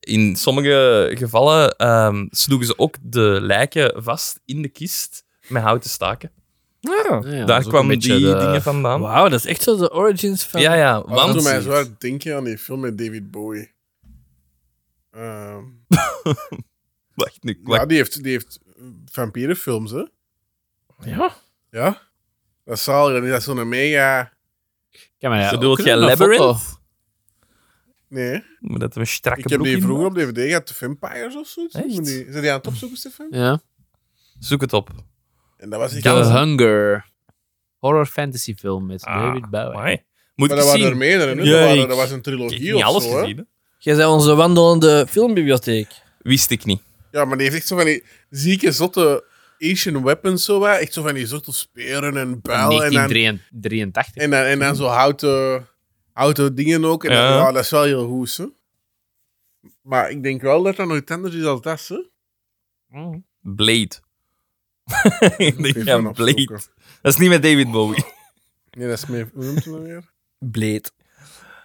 Speaker 1: in sommige gevallen ehm, sloegen ze ook de lijken vast in de kist met houten staken.
Speaker 5: Ja.
Speaker 1: daar kwamen die dingen vandaan.
Speaker 5: Wauw, dat is echt zo de origins van...
Speaker 1: Ja, ja,
Speaker 3: Want... Dat doet mij
Speaker 1: want...
Speaker 3: zo hard denken aan die film met David Bowie. Ehm,
Speaker 1: Wacht, nu,
Speaker 3: ja,
Speaker 1: wacht.
Speaker 3: die heeft, die heeft eh, vampierenfilms, hè?
Speaker 1: Ja?
Speaker 3: Ja? Dat is zalig. Dat is zo'n mega...
Speaker 4: Ja, maar ja,
Speaker 1: Ze bedoelt
Speaker 4: eh, ook
Speaker 1: jij
Speaker 4: een foto.
Speaker 1: Labyrinth?
Speaker 3: Nee.
Speaker 1: Maar dat we een strakke
Speaker 3: Ik heb
Speaker 1: broek
Speaker 3: die
Speaker 1: in
Speaker 3: vroeger
Speaker 1: doen.
Speaker 3: op DVD gehad, The Vampires of zoiets.
Speaker 1: Echt?
Speaker 3: Moet die- Zijn die aan het opzoeken, Stefan?
Speaker 4: Ja.
Speaker 1: Zoek het op.
Speaker 3: En dat was echt...
Speaker 4: The
Speaker 1: Ja.
Speaker 4: Hunger. Horror fantasy film met
Speaker 1: Ah,
Speaker 4: David Bowie.
Speaker 1: Amai. Moet
Speaker 3: Maar
Speaker 1: ik
Speaker 3: dat
Speaker 1: eens
Speaker 3: waren
Speaker 1: zien?
Speaker 3: er meerdere. hè?
Speaker 1: Ja,
Speaker 3: dat, waren,
Speaker 1: ik-
Speaker 3: dat was een
Speaker 1: Ik heb
Speaker 3: trilogie
Speaker 1: niet
Speaker 3: of
Speaker 1: alles
Speaker 3: zo. hè?
Speaker 1: gezien. hè.
Speaker 5: Jij bent onze wandelende filmbibliotheek.
Speaker 1: Wist ik niet.
Speaker 3: Ja, maar die heeft echt zo van die zieke, zotte Asian weapons. Zo, hè? Echt zo van die zotte speren en builen. En dan,
Speaker 4: 1983.
Speaker 3: en dan, en dan zo houten, houten dingen ook. En dan-
Speaker 1: Ja.
Speaker 3: ja, dat is wel heel hoes. hè. Maar ik denk wel dat dat nooit anders is als dat. Hè?
Speaker 1: Blade. *laughs* ik denk
Speaker 3: Even
Speaker 1: aan
Speaker 3: gaan
Speaker 1: Blade.
Speaker 3: opzoeken.
Speaker 1: Dat is niet met David Bowie.
Speaker 3: Nee, dat is meer. Hoe noemt hij dat weer?
Speaker 5: Bleed.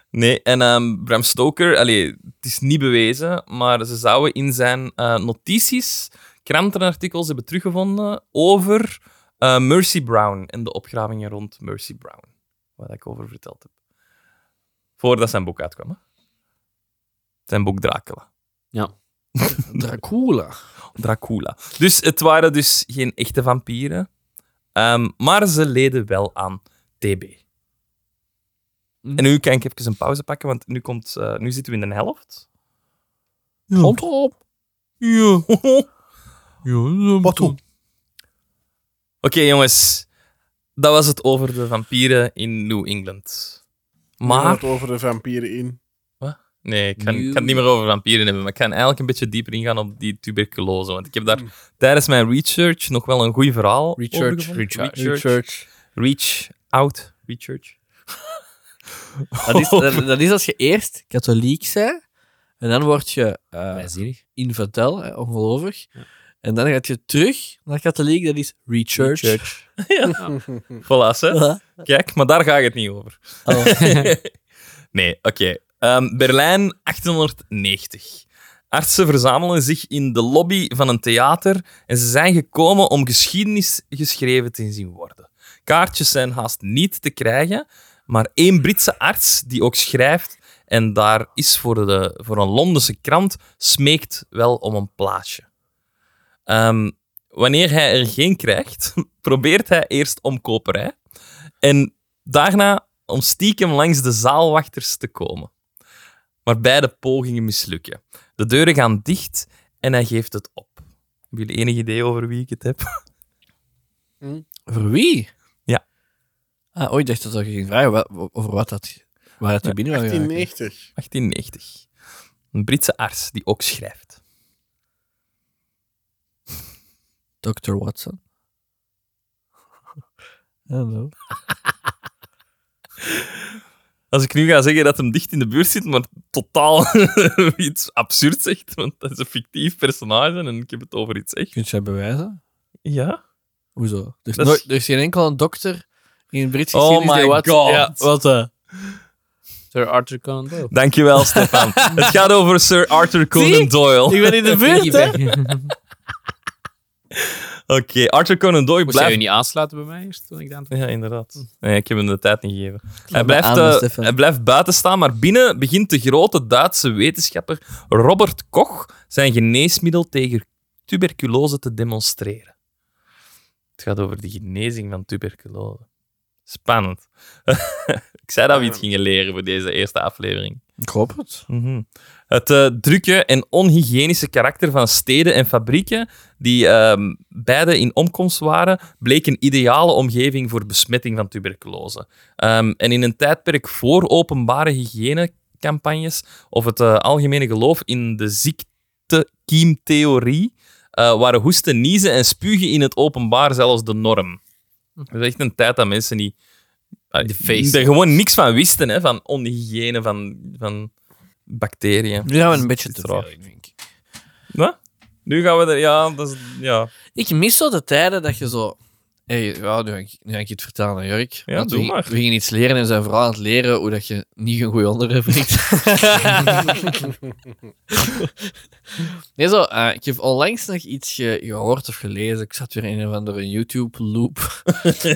Speaker 1: Nee, en ehm, Bram Stoker, allee, het is niet bewezen, maar ze zouden in zijn eh, notities krantenartikels hebben teruggevonden over eh, Mercy Brown en de opgravingen rond Mercy Brown. Waar ik over verteld heb. Voordat zijn boek uitkwam. Hè? Zijn boek Dracula.
Speaker 5: Dracula.
Speaker 1: Dracula. Dus het waren dus geen echte vampieren, ehm, maar ze leden wel aan TB. En nu kan ik even een pauze pakken, want nu, komt, eh, nu zitten we in de helft.
Speaker 5: Komt op.
Speaker 1: Ja. Oké, jongens. Dat was het over de vampieren in New England. *laughs* Maar...
Speaker 3: Het over de vampieren in.
Speaker 1: Nee, ik kan, ik kan het niet meer over vampieren hebben, maar ik kan eigenlijk een beetje dieper ingaan op die tuberculose. Want ik heb daar tijdens mijn research nog wel een goed verhaal over gevonden. Research. Reach out. Research.
Speaker 5: Dat is, dat, dat is als je eerst katholiek bent, en dan word je eh
Speaker 4: Wijzinnig.
Speaker 5: infidel, hè, ongelovig. En dan gaat je terug naar katholiek, dat is rechurch. *laughs*
Speaker 1: Voilà, hè.
Speaker 5: Ja.
Speaker 1: Kijk, maar daar ga ik het niet over.
Speaker 5: Oh.
Speaker 1: nee, oké. Ehm, Berlijn, 1890. Artsen verzamelen zich in de lobby van een theater en ze zijn gekomen om geschiedenis geschreven te zien worden. Kaartjes zijn haast niet te krijgen, maar één Britse arts die ook schrijft en daar is voor, de, voor een Londense krant, smeekt wel om een plaatsje. Ehm, wanneer hij er geen krijgt, *laughs* probeert hij eerst om koperij en daarna om stiekem langs de zaalwachters te komen. Maar beide pogingen mislukken. De deuren gaan dicht en hij geeft het op. Hebben jullie enig idee over wie ik het heb? *laughs*
Speaker 5: Voor wie?
Speaker 1: Ja.
Speaker 5: Ah, oh, ik dacht dat er geen vraag wa- over wat dat... Waar dat je binnen was.
Speaker 3: 1890.
Speaker 1: 1890. Een Britse arts die ook schrijft.
Speaker 5: Dr. *laughs* Watson. Hallo.
Speaker 1: Als ik nu ga zeggen dat hem dicht in de buurt zit, maar totaal *laughs* iets absurd zegt, want dat is een fictief personage en ik heb het over iets echt.
Speaker 5: Kun je dat bewijzen?
Speaker 1: Ja?
Speaker 5: Hoezo? Er is,
Speaker 1: Dat is-
Speaker 5: nooit- er is geen enkel een dokter in het Brits
Speaker 1: Oh
Speaker 5: geschiedenis
Speaker 1: my
Speaker 5: die wat-
Speaker 1: god.
Speaker 5: Ja, wat eh,
Speaker 4: Sir Arthur Conan Doyle.
Speaker 1: Dankjewel,
Speaker 4: *laughs*
Speaker 1: Stefan. het gaat over Sir Arthur Conan
Speaker 5: Zie?
Speaker 4: Oh.
Speaker 1: Doyle.
Speaker 5: Ik ben in de buurt, hè?
Speaker 1: Oké, Arthur Conan Doyle
Speaker 4: Moest jij je
Speaker 1: blijft...
Speaker 4: niet aansluiten bij mij eerst toen ik dat aan het-
Speaker 1: *laughs* Ja, inderdaad.
Speaker 5: Hm.
Speaker 1: Nee, ik heb hem de tijd niet gegeven. Hij
Speaker 5: maar
Speaker 1: blijft,
Speaker 5: aan,
Speaker 1: eh,
Speaker 5: Stefan.
Speaker 1: hij blijft buiten staan, maar binnen begint de grote Duitse wetenschapper Robert Koch zijn geneesmiddel tegen tuberculose te demonstreren. Het gaat over de genezing van tuberculose. Spannend. *laughs* ik zei dat we iets gingen leren voor deze eerste aflevering.
Speaker 5: Ik hoop het.
Speaker 1: Mhm. Het eh, drukke en onhygiënische karakter van steden en fabrieken, die ehm, beide in omkomst waren, bleek een ideale omgeving voor besmetting van tuberculose. Ehm, en in een tijdperk voor openbare hygiënecampagnes of het eh, algemene geloof in de ziektekiemtheorie, eh, waren hoesten, niezen en spugen in het openbaar zelfs de norm. Dat is echt een tijd dat mensen niet,
Speaker 4: De feest.
Speaker 1: er gewoon niks van wisten, hè, van onhygiëne, van... van bacteriën.
Speaker 5: Nu gaan we een beetje te
Speaker 1: raar.
Speaker 5: veel, ik denk.
Speaker 1: Wat? Nu gaan we er... Ja, dat is... Ja,
Speaker 5: Ik mis zo de tijden dat je zo... Hey, ja, nu, ga ik, nu ga ik je het vertellen aan Jurk.
Speaker 1: Ja,
Speaker 5: Want
Speaker 1: doe
Speaker 5: we,
Speaker 1: maar.
Speaker 5: We gingen iets leren en we zijn vooral aan het leren hoe dat je niet een goed onderwerp
Speaker 1: *laughs*
Speaker 5: brengt. nee, zo, eh, ik heb onlangs nog iets ge- gehoord of gelezen. Ik zat weer in een of andere
Speaker 1: *laughs*
Speaker 5: YouTube-loop.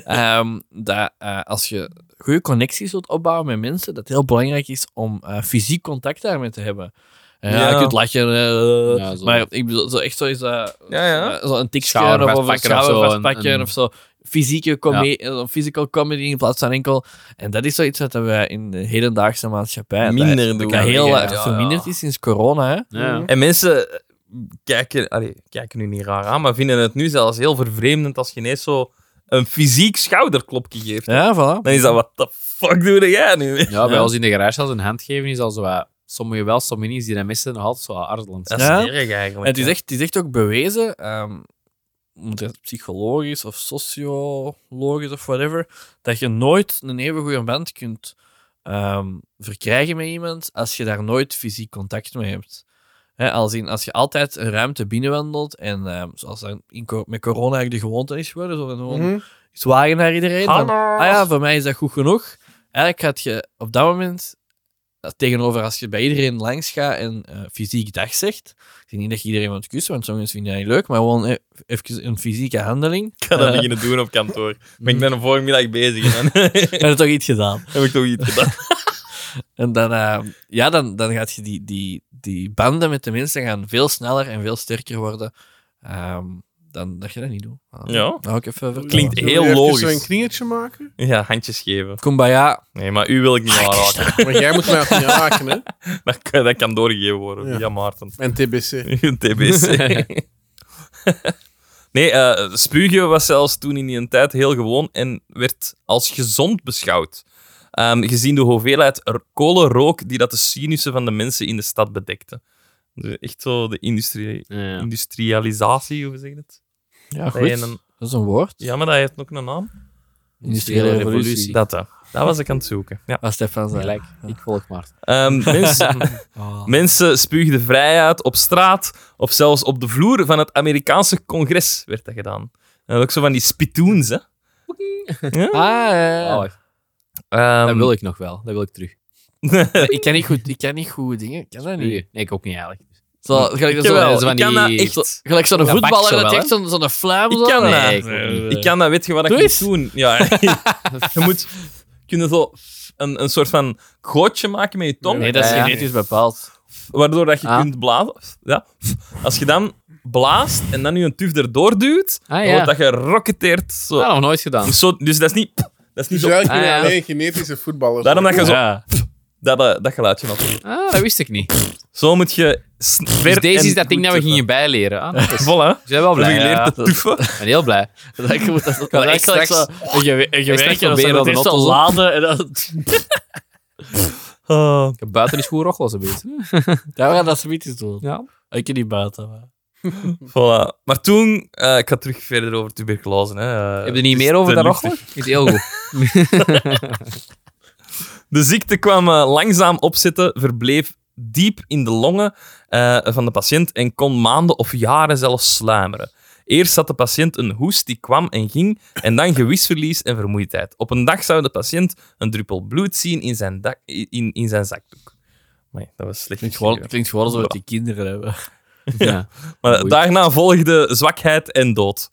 Speaker 5: Ehm, dat eh, als je goede connecties wilt opbouwen met mensen, dat het heel belangrijk is om eh, fysiek contact daarmee te hebben. Eh, ja,
Speaker 1: Ja.
Speaker 5: je kunt lachen, eh,
Speaker 4: Ja, zo.
Speaker 5: maar ik bedoel, zo echt zo is dat...
Speaker 1: ja, ja.
Speaker 5: Eh, Zo een tikje
Speaker 4: Schouder
Speaker 5: of, of een
Speaker 4: vastpakken of
Speaker 5: schouder
Speaker 4: zo,
Speaker 5: vastpakken
Speaker 4: een-
Speaker 5: of zo. Fysieke comedy, eh, physical comedy in plaats van enkel. En dat is zoiets wat wij in de hedendaagse maatschappij dat-
Speaker 1: Minder
Speaker 5: dat,
Speaker 1: doen,
Speaker 5: heel
Speaker 1: ja,
Speaker 5: erg
Speaker 1: ja,
Speaker 5: verminderd
Speaker 1: ja.
Speaker 5: is sinds corona. Hè?
Speaker 4: Ja.
Speaker 1: En mensen eh, kijken... Allee, kijken nu niet raar aan, maar vinden het nu zelfs heel vervreemdend als je ineens zo een fysiek schouderklopje geeft,
Speaker 5: Ja, voilà.
Speaker 1: dan is dat, wat the fuck doe jij nu? *laughs* mee?
Speaker 4: Ja, bij ons in de garage als een hand geven is al zo wat... Sommigen wel, sommigen niet. Die dat missen nog altijd zo wat aarzelend.
Speaker 1: Dat
Speaker 4: Ja.
Speaker 1: is
Speaker 5: Ja.
Speaker 1: erg eigenlijk.
Speaker 5: En het is
Speaker 1: hè.
Speaker 5: echt, het is echt ook bewezen, ehm, moet het psychologisch of sociologisch of whatever, dat je nooit een even goede band kunt ehm, verkrijgen met iemand als je daar nooit fysiek contact mee hebt. Hè, als, in, als je altijd een ruimte binnenwandelt en ehm, zoals dan in, co- met corona eigenlijk de gewoonte is geworden, zo van gewoon
Speaker 3: Mhm.
Speaker 5: zwagen naar iedereen. van, ah ja, voor mij is dat goed genoeg. Eigenlijk had je op dat moment, dat tegenover als je bij iedereen langs gaat en eh, fysiek dag zegt, ik zeg niet dat je iedereen moet kussen, want soms vinden dat niet leuk, maar gewoon e- even een fysieke handeling.
Speaker 1: Ik ga dat beginnen doen op kantoor. Ben ik dan een vorige middag bezig en *laughs* dan
Speaker 5: Heb je toch iets gedaan?
Speaker 1: heb ik toch iets gedaan.
Speaker 5: En dan, eh, ja, dan, dan gaat je die, die, die banden met de mensen gaan veel sneller en veel sterker worden ehm, dan dat je dat niet doet.
Speaker 1: Ja.
Speaker 5: Nou, ik even vertellen.
Speaker 1: Klinkt
Speaker 3: Zullen we
Speaker 1: heel
Speaker 3: even
Speaker 1: logisch.
Speaker 3: een kringetje maken?
Speaker 1: Ja, handjes geven.
Speaker 5: Kumbaya.
Speaker 1: Nee, maar u wil ik niet aanraken.
Speaker 3: Maar jij moet mij ook
Speaker 4: *laughs*
Speaker 3: niet raken, hè?
Speaker 1: *laughs* Dat kan, dat kan doorgegeven worden
Speaker 3: Ja.
Speaker 1: via Maarten.
Speaker 3: En *laughs* TBC.
Speaker 1: Een TBC. *laughs* nee, eh spugen was zelfs toen in die tijd heel gewoon en werd als gezond beschouwd. Ehm, gezien de hoeveelheid r- kolenrook die dat de sinussen van de mensen in de stad bedekte. Dus echt zo de industrie,
Speaker 4: Ja.
Speaker 1: industrialisatie, hoe zeg je het?
Speaker 5: Ja,
Speaker 1: Dat je een-
Speaker 5: Dat is een woord.
Speaker 1: ja, maar dat heeft ook een naam.
Speaker 5: Industriële revolutie.
Speaker 1: Dat, hè. dat was ik aan het zoeken. Ja.
Speaker 5: Ah, Stefan zei.
Speaker 4: Gelijk. Ik volg maar.
Speaker 5: *laughs*
Speaker 1: Ehm, mensen,
Speaker 5: Oh.
Speaker 1: mensen spuugden vrij uit op straat of zelfs op de vloer van het Amerikaanse congres werd dat gedaan. En ook zo van die spittoons, hè.
Speaker 5: Ah, ja, ja.
Speaker 4: Oh, dat
Speaker 1: Ehm,
Speaker 4: wil ik nog wel. Dat wil ik terug.
Speaker 5: ik kan niet goed, ik kan niet goed dingen. Ik kan dat niet.
Speaker 4: Nee, ik ook niet eigenlijk.
Speaker 5: Zo, gelijk
Speaker 1: ik
Speaker 5: zo,
Speaker 1: wel,
Speaker 5: zo
Speaker 1: ik
Speaker 5: van
Speaker 1: kan dat
Speaker 5: die-
Speaker 1: echt.
Speaker 5: zo- gelijk zo'n
Speaker 4: dat bakt
Speaker 5: voetballer
Speaker 4: zo
Speaker 5: en dat
Speaker 4: wel,
Speaker 5: echt zo'n zo'n fluim.
Speaker 1: Ik
Speaker 5: zo.
Speaker 1: kan
Speaker 5: Nee,
Speaker 1: dat.
Speaker 5: ik ook niet.
Speaker 1: Ik kan dat, weet je wat ik
Speaker 5: Doe
Speaker 1: moet
Speaker 5: eens.
Speaker 1: doen? Ja, *laughs* je moet kunnen zo een, een soort van gootje maken met je tong, eh,
Speaker 4: Nee, dat is
Speaker 5: Ja, ja.
Speaker 4: genetisch bepaald.
Speaker 1: waardoor dat je
Speaker 4: Ah.
Speaker 1: kunt blazen. Ja. Als je dan blaast en dan je een tuf erdoor duwt,
Speaker 4: Ah
Speaker 1: dan
Speaker 4: ja.
Speaker 1: wordt
Speaker 4: Dat
Speaker 1: dat gerocketeerd. Zo.
Speaker 4: nog nooit
Speaker 1: *laughs*
Speaker 4: gedaan.
Speaker 1: Zo, dus dat is niet... Dat is niet
Speaker 3: Dus
Speaker 1: zo,
Speaker 3: eigenlijk
Speaker 4: Ah,
Speaker 3: ben je
Speaker 4: ja.
Speaker 3: alleen genetische voetballer.
Speaker 1: Daarom dat je zo...
Speaker 4: Ja.
Speaker 1: Dat, eh, dat geluidje natuurlijk.
Speaker 4: Ah, dat wist ik niet.
Speaker 1: Zo moet je... s- ver
Speaker 4: Dus deze
Speaker 1: en
Speaker 4: is
Speaker 1: goed
Speaker 4: dat ding dat we
Speaker 1: tuffen.
Speaker 4: gingen bijleren. Ah, dat *laughs* is-
Speaker 1: Voilà. *laughs*
Speaker 4: ik ben wel
Speaker 1: We hebben
Speaker 4: blij.
Speaker 1: geleerd
Speaker 4: Ja.
Speaker 1: te tuffen.
Speaker 4: Ik ben heel blij.
Speaker 5: Dat ik moet dat dat
Speaker 4: kan
Speaker 5: dat
Speaker 4: echt
Speaker 5: gelijk
Speaker 4: straks-
Speaker 5: zo- een gewe- een
Speaker 4: straks
Speaker 5: gewerkje dat
Speaker 4: proberen
Speaker 5: zo
Speaker 4: dat
Speaker 5: dat eerst
Speaker 4: een
Speaker 5: zo
Speaker 4: auto-
Speaker 5: laden en
Speaker 1: *laughs*
Speaker 5: dan...
Speaker 1: Ah.
Speaker 4: Ik heb buiten is goed rochels een beetje.
Speaker 5: Ja, we gaan dat zoiets doen.
Speaker 4: Ja.
Speaker 5: Ik kan niet buiten. maar-
Speaker 1: Voilà. Maar toen, eh, ik ga terug verder over tuberculose. Hè. Eh,
Speaker 4: Heb je er niet
Speaker 1: dus
Speaker 4: meer over
Speaker 1: de
Speaker 4: dat rochel? Is heel goed.
Speaker 1: De ziekte kwam eh, langzaam opzetten, verbleef diep in de longen eh, van de patiënt en kon maanden of jaren zelfs sluimeren. Eerst had de patiënt een hoest die kwam en ging, en dan gewisverlies en vermoeidheid. Op een dag zou de patiënt een druppel bloed zien in zijn, dak- in, in zijn zakdoek. Maar dat was slecht.
Speaker 5: Klinkt gewoon,
Speaker 1: geschreven.
Speaker 5: klinkt gewoon alsof die kinderen hebben.
Speaker 4: Ja.
Speaker 1: Maar
Speaker 4: Oei.
Speaker 1: daarna volgde zwakheid en dood.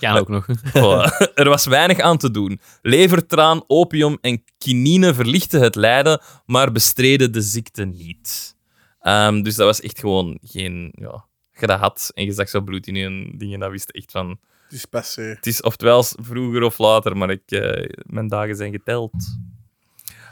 Speaker 4: Kan ook nog.
Speaker 1: Voilà. *laughs* Er was weinig aan te doen. Levertraan, opium en kinine verlichten het lijden, maar bestreden de ziekte niet. Ehm, dus dat was echt gewoon geen. Ja, je dat had en je zag zo bloed in je dingen, dat wist je echt van.
Speaker 3: Het is passé.
Speaker 1: Het is oftewel vroeger of later, maar ik, eh, mijn dagen zijn geteld.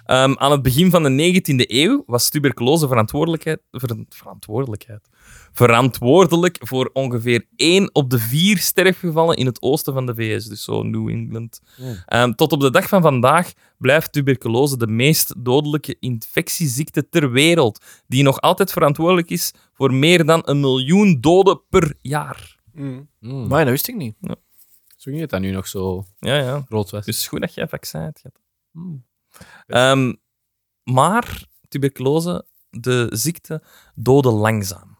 Speaker 1: Ehm, aan het begin van de 19e eeuw was tuberculose verantwoordelijkheid, ver- verantwoordelijkheid, verantwoordelijk voor ongeveer 1 op de 4 sterfgevallen in het oosten van de VS, dus zo New England. Ehm, tot op de dag van vandaag blijft tuberculose de meest dodelijke infectieziekte ter wereld, die nog altijd verantwoordelijk is voor meer dan een miljoen doden per jaar.
Speaker 3: Mm.
Speaker 4: Mm.
Speaker 5: Maar dat wist ik niet.
Speaker 4: Zo niet dat dat nu nog zo
Speaker 1: Ja, ja.
Speaker 4: groot was.
Speaker 1: Dus goed dat jij vaccin hebt gehad.
Speaker 4: Mm.
Speaker 1: Ehm, maar tuberculose, de ziekte, doodde langzaam.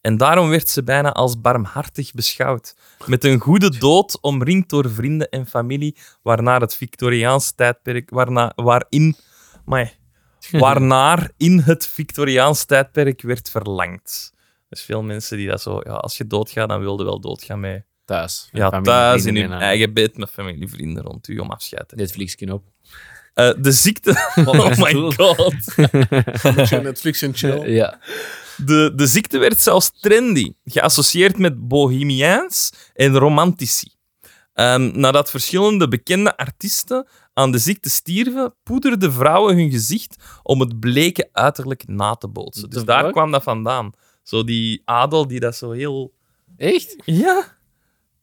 Speaker 1: En daarom werd ze bijna als barmhartig beschouwd. Met een goede dood omringd door vrienden en familie, waarnaar het Victoriaans tijdperk, waarna, waarin, amai, waarnaar in het Victoriaans tijdperk werd verlangd. Dus veel mensen die dat zo, ja, als je doodgaat, dan wilde wel doodgaan met
Speaker 4: thuis.
Speaker 1: ja,
Speaker 4: Familie,
Speaker 1: thuis in
Speaker 4: vrienden
Speaker 1: hun
Speaker 4: en, eh,
Speaker 1: eigen bed met familie, vrienden rond u om afscheid te
Speaker 4: Netflixje op.
Speaker 1: eh, de
Speaker 4: *laughs*
Speaker 1: ziekte. Oh my god.
Speaker 3: Zijn Netflix en chill.
Speaker 4: Ja.
Speaker 1: De, de ziekte werd zelfs trendy, geassocieerd met bohemiaans en romantici. Ehm, nadat verschillende bekende artiesten aan de ziekte stierven, poederden vrouwen hun gezicht om het bleke uiterlijk na te bootsen. Dus
Speaker 4: The
Speaker 1: daar
Speaker 4: fuck?
Speaker 1: kwam dat vandaan. Zo die adel die dat zo heel.
Speaker 4: Echt?
Speaker 1: Ja.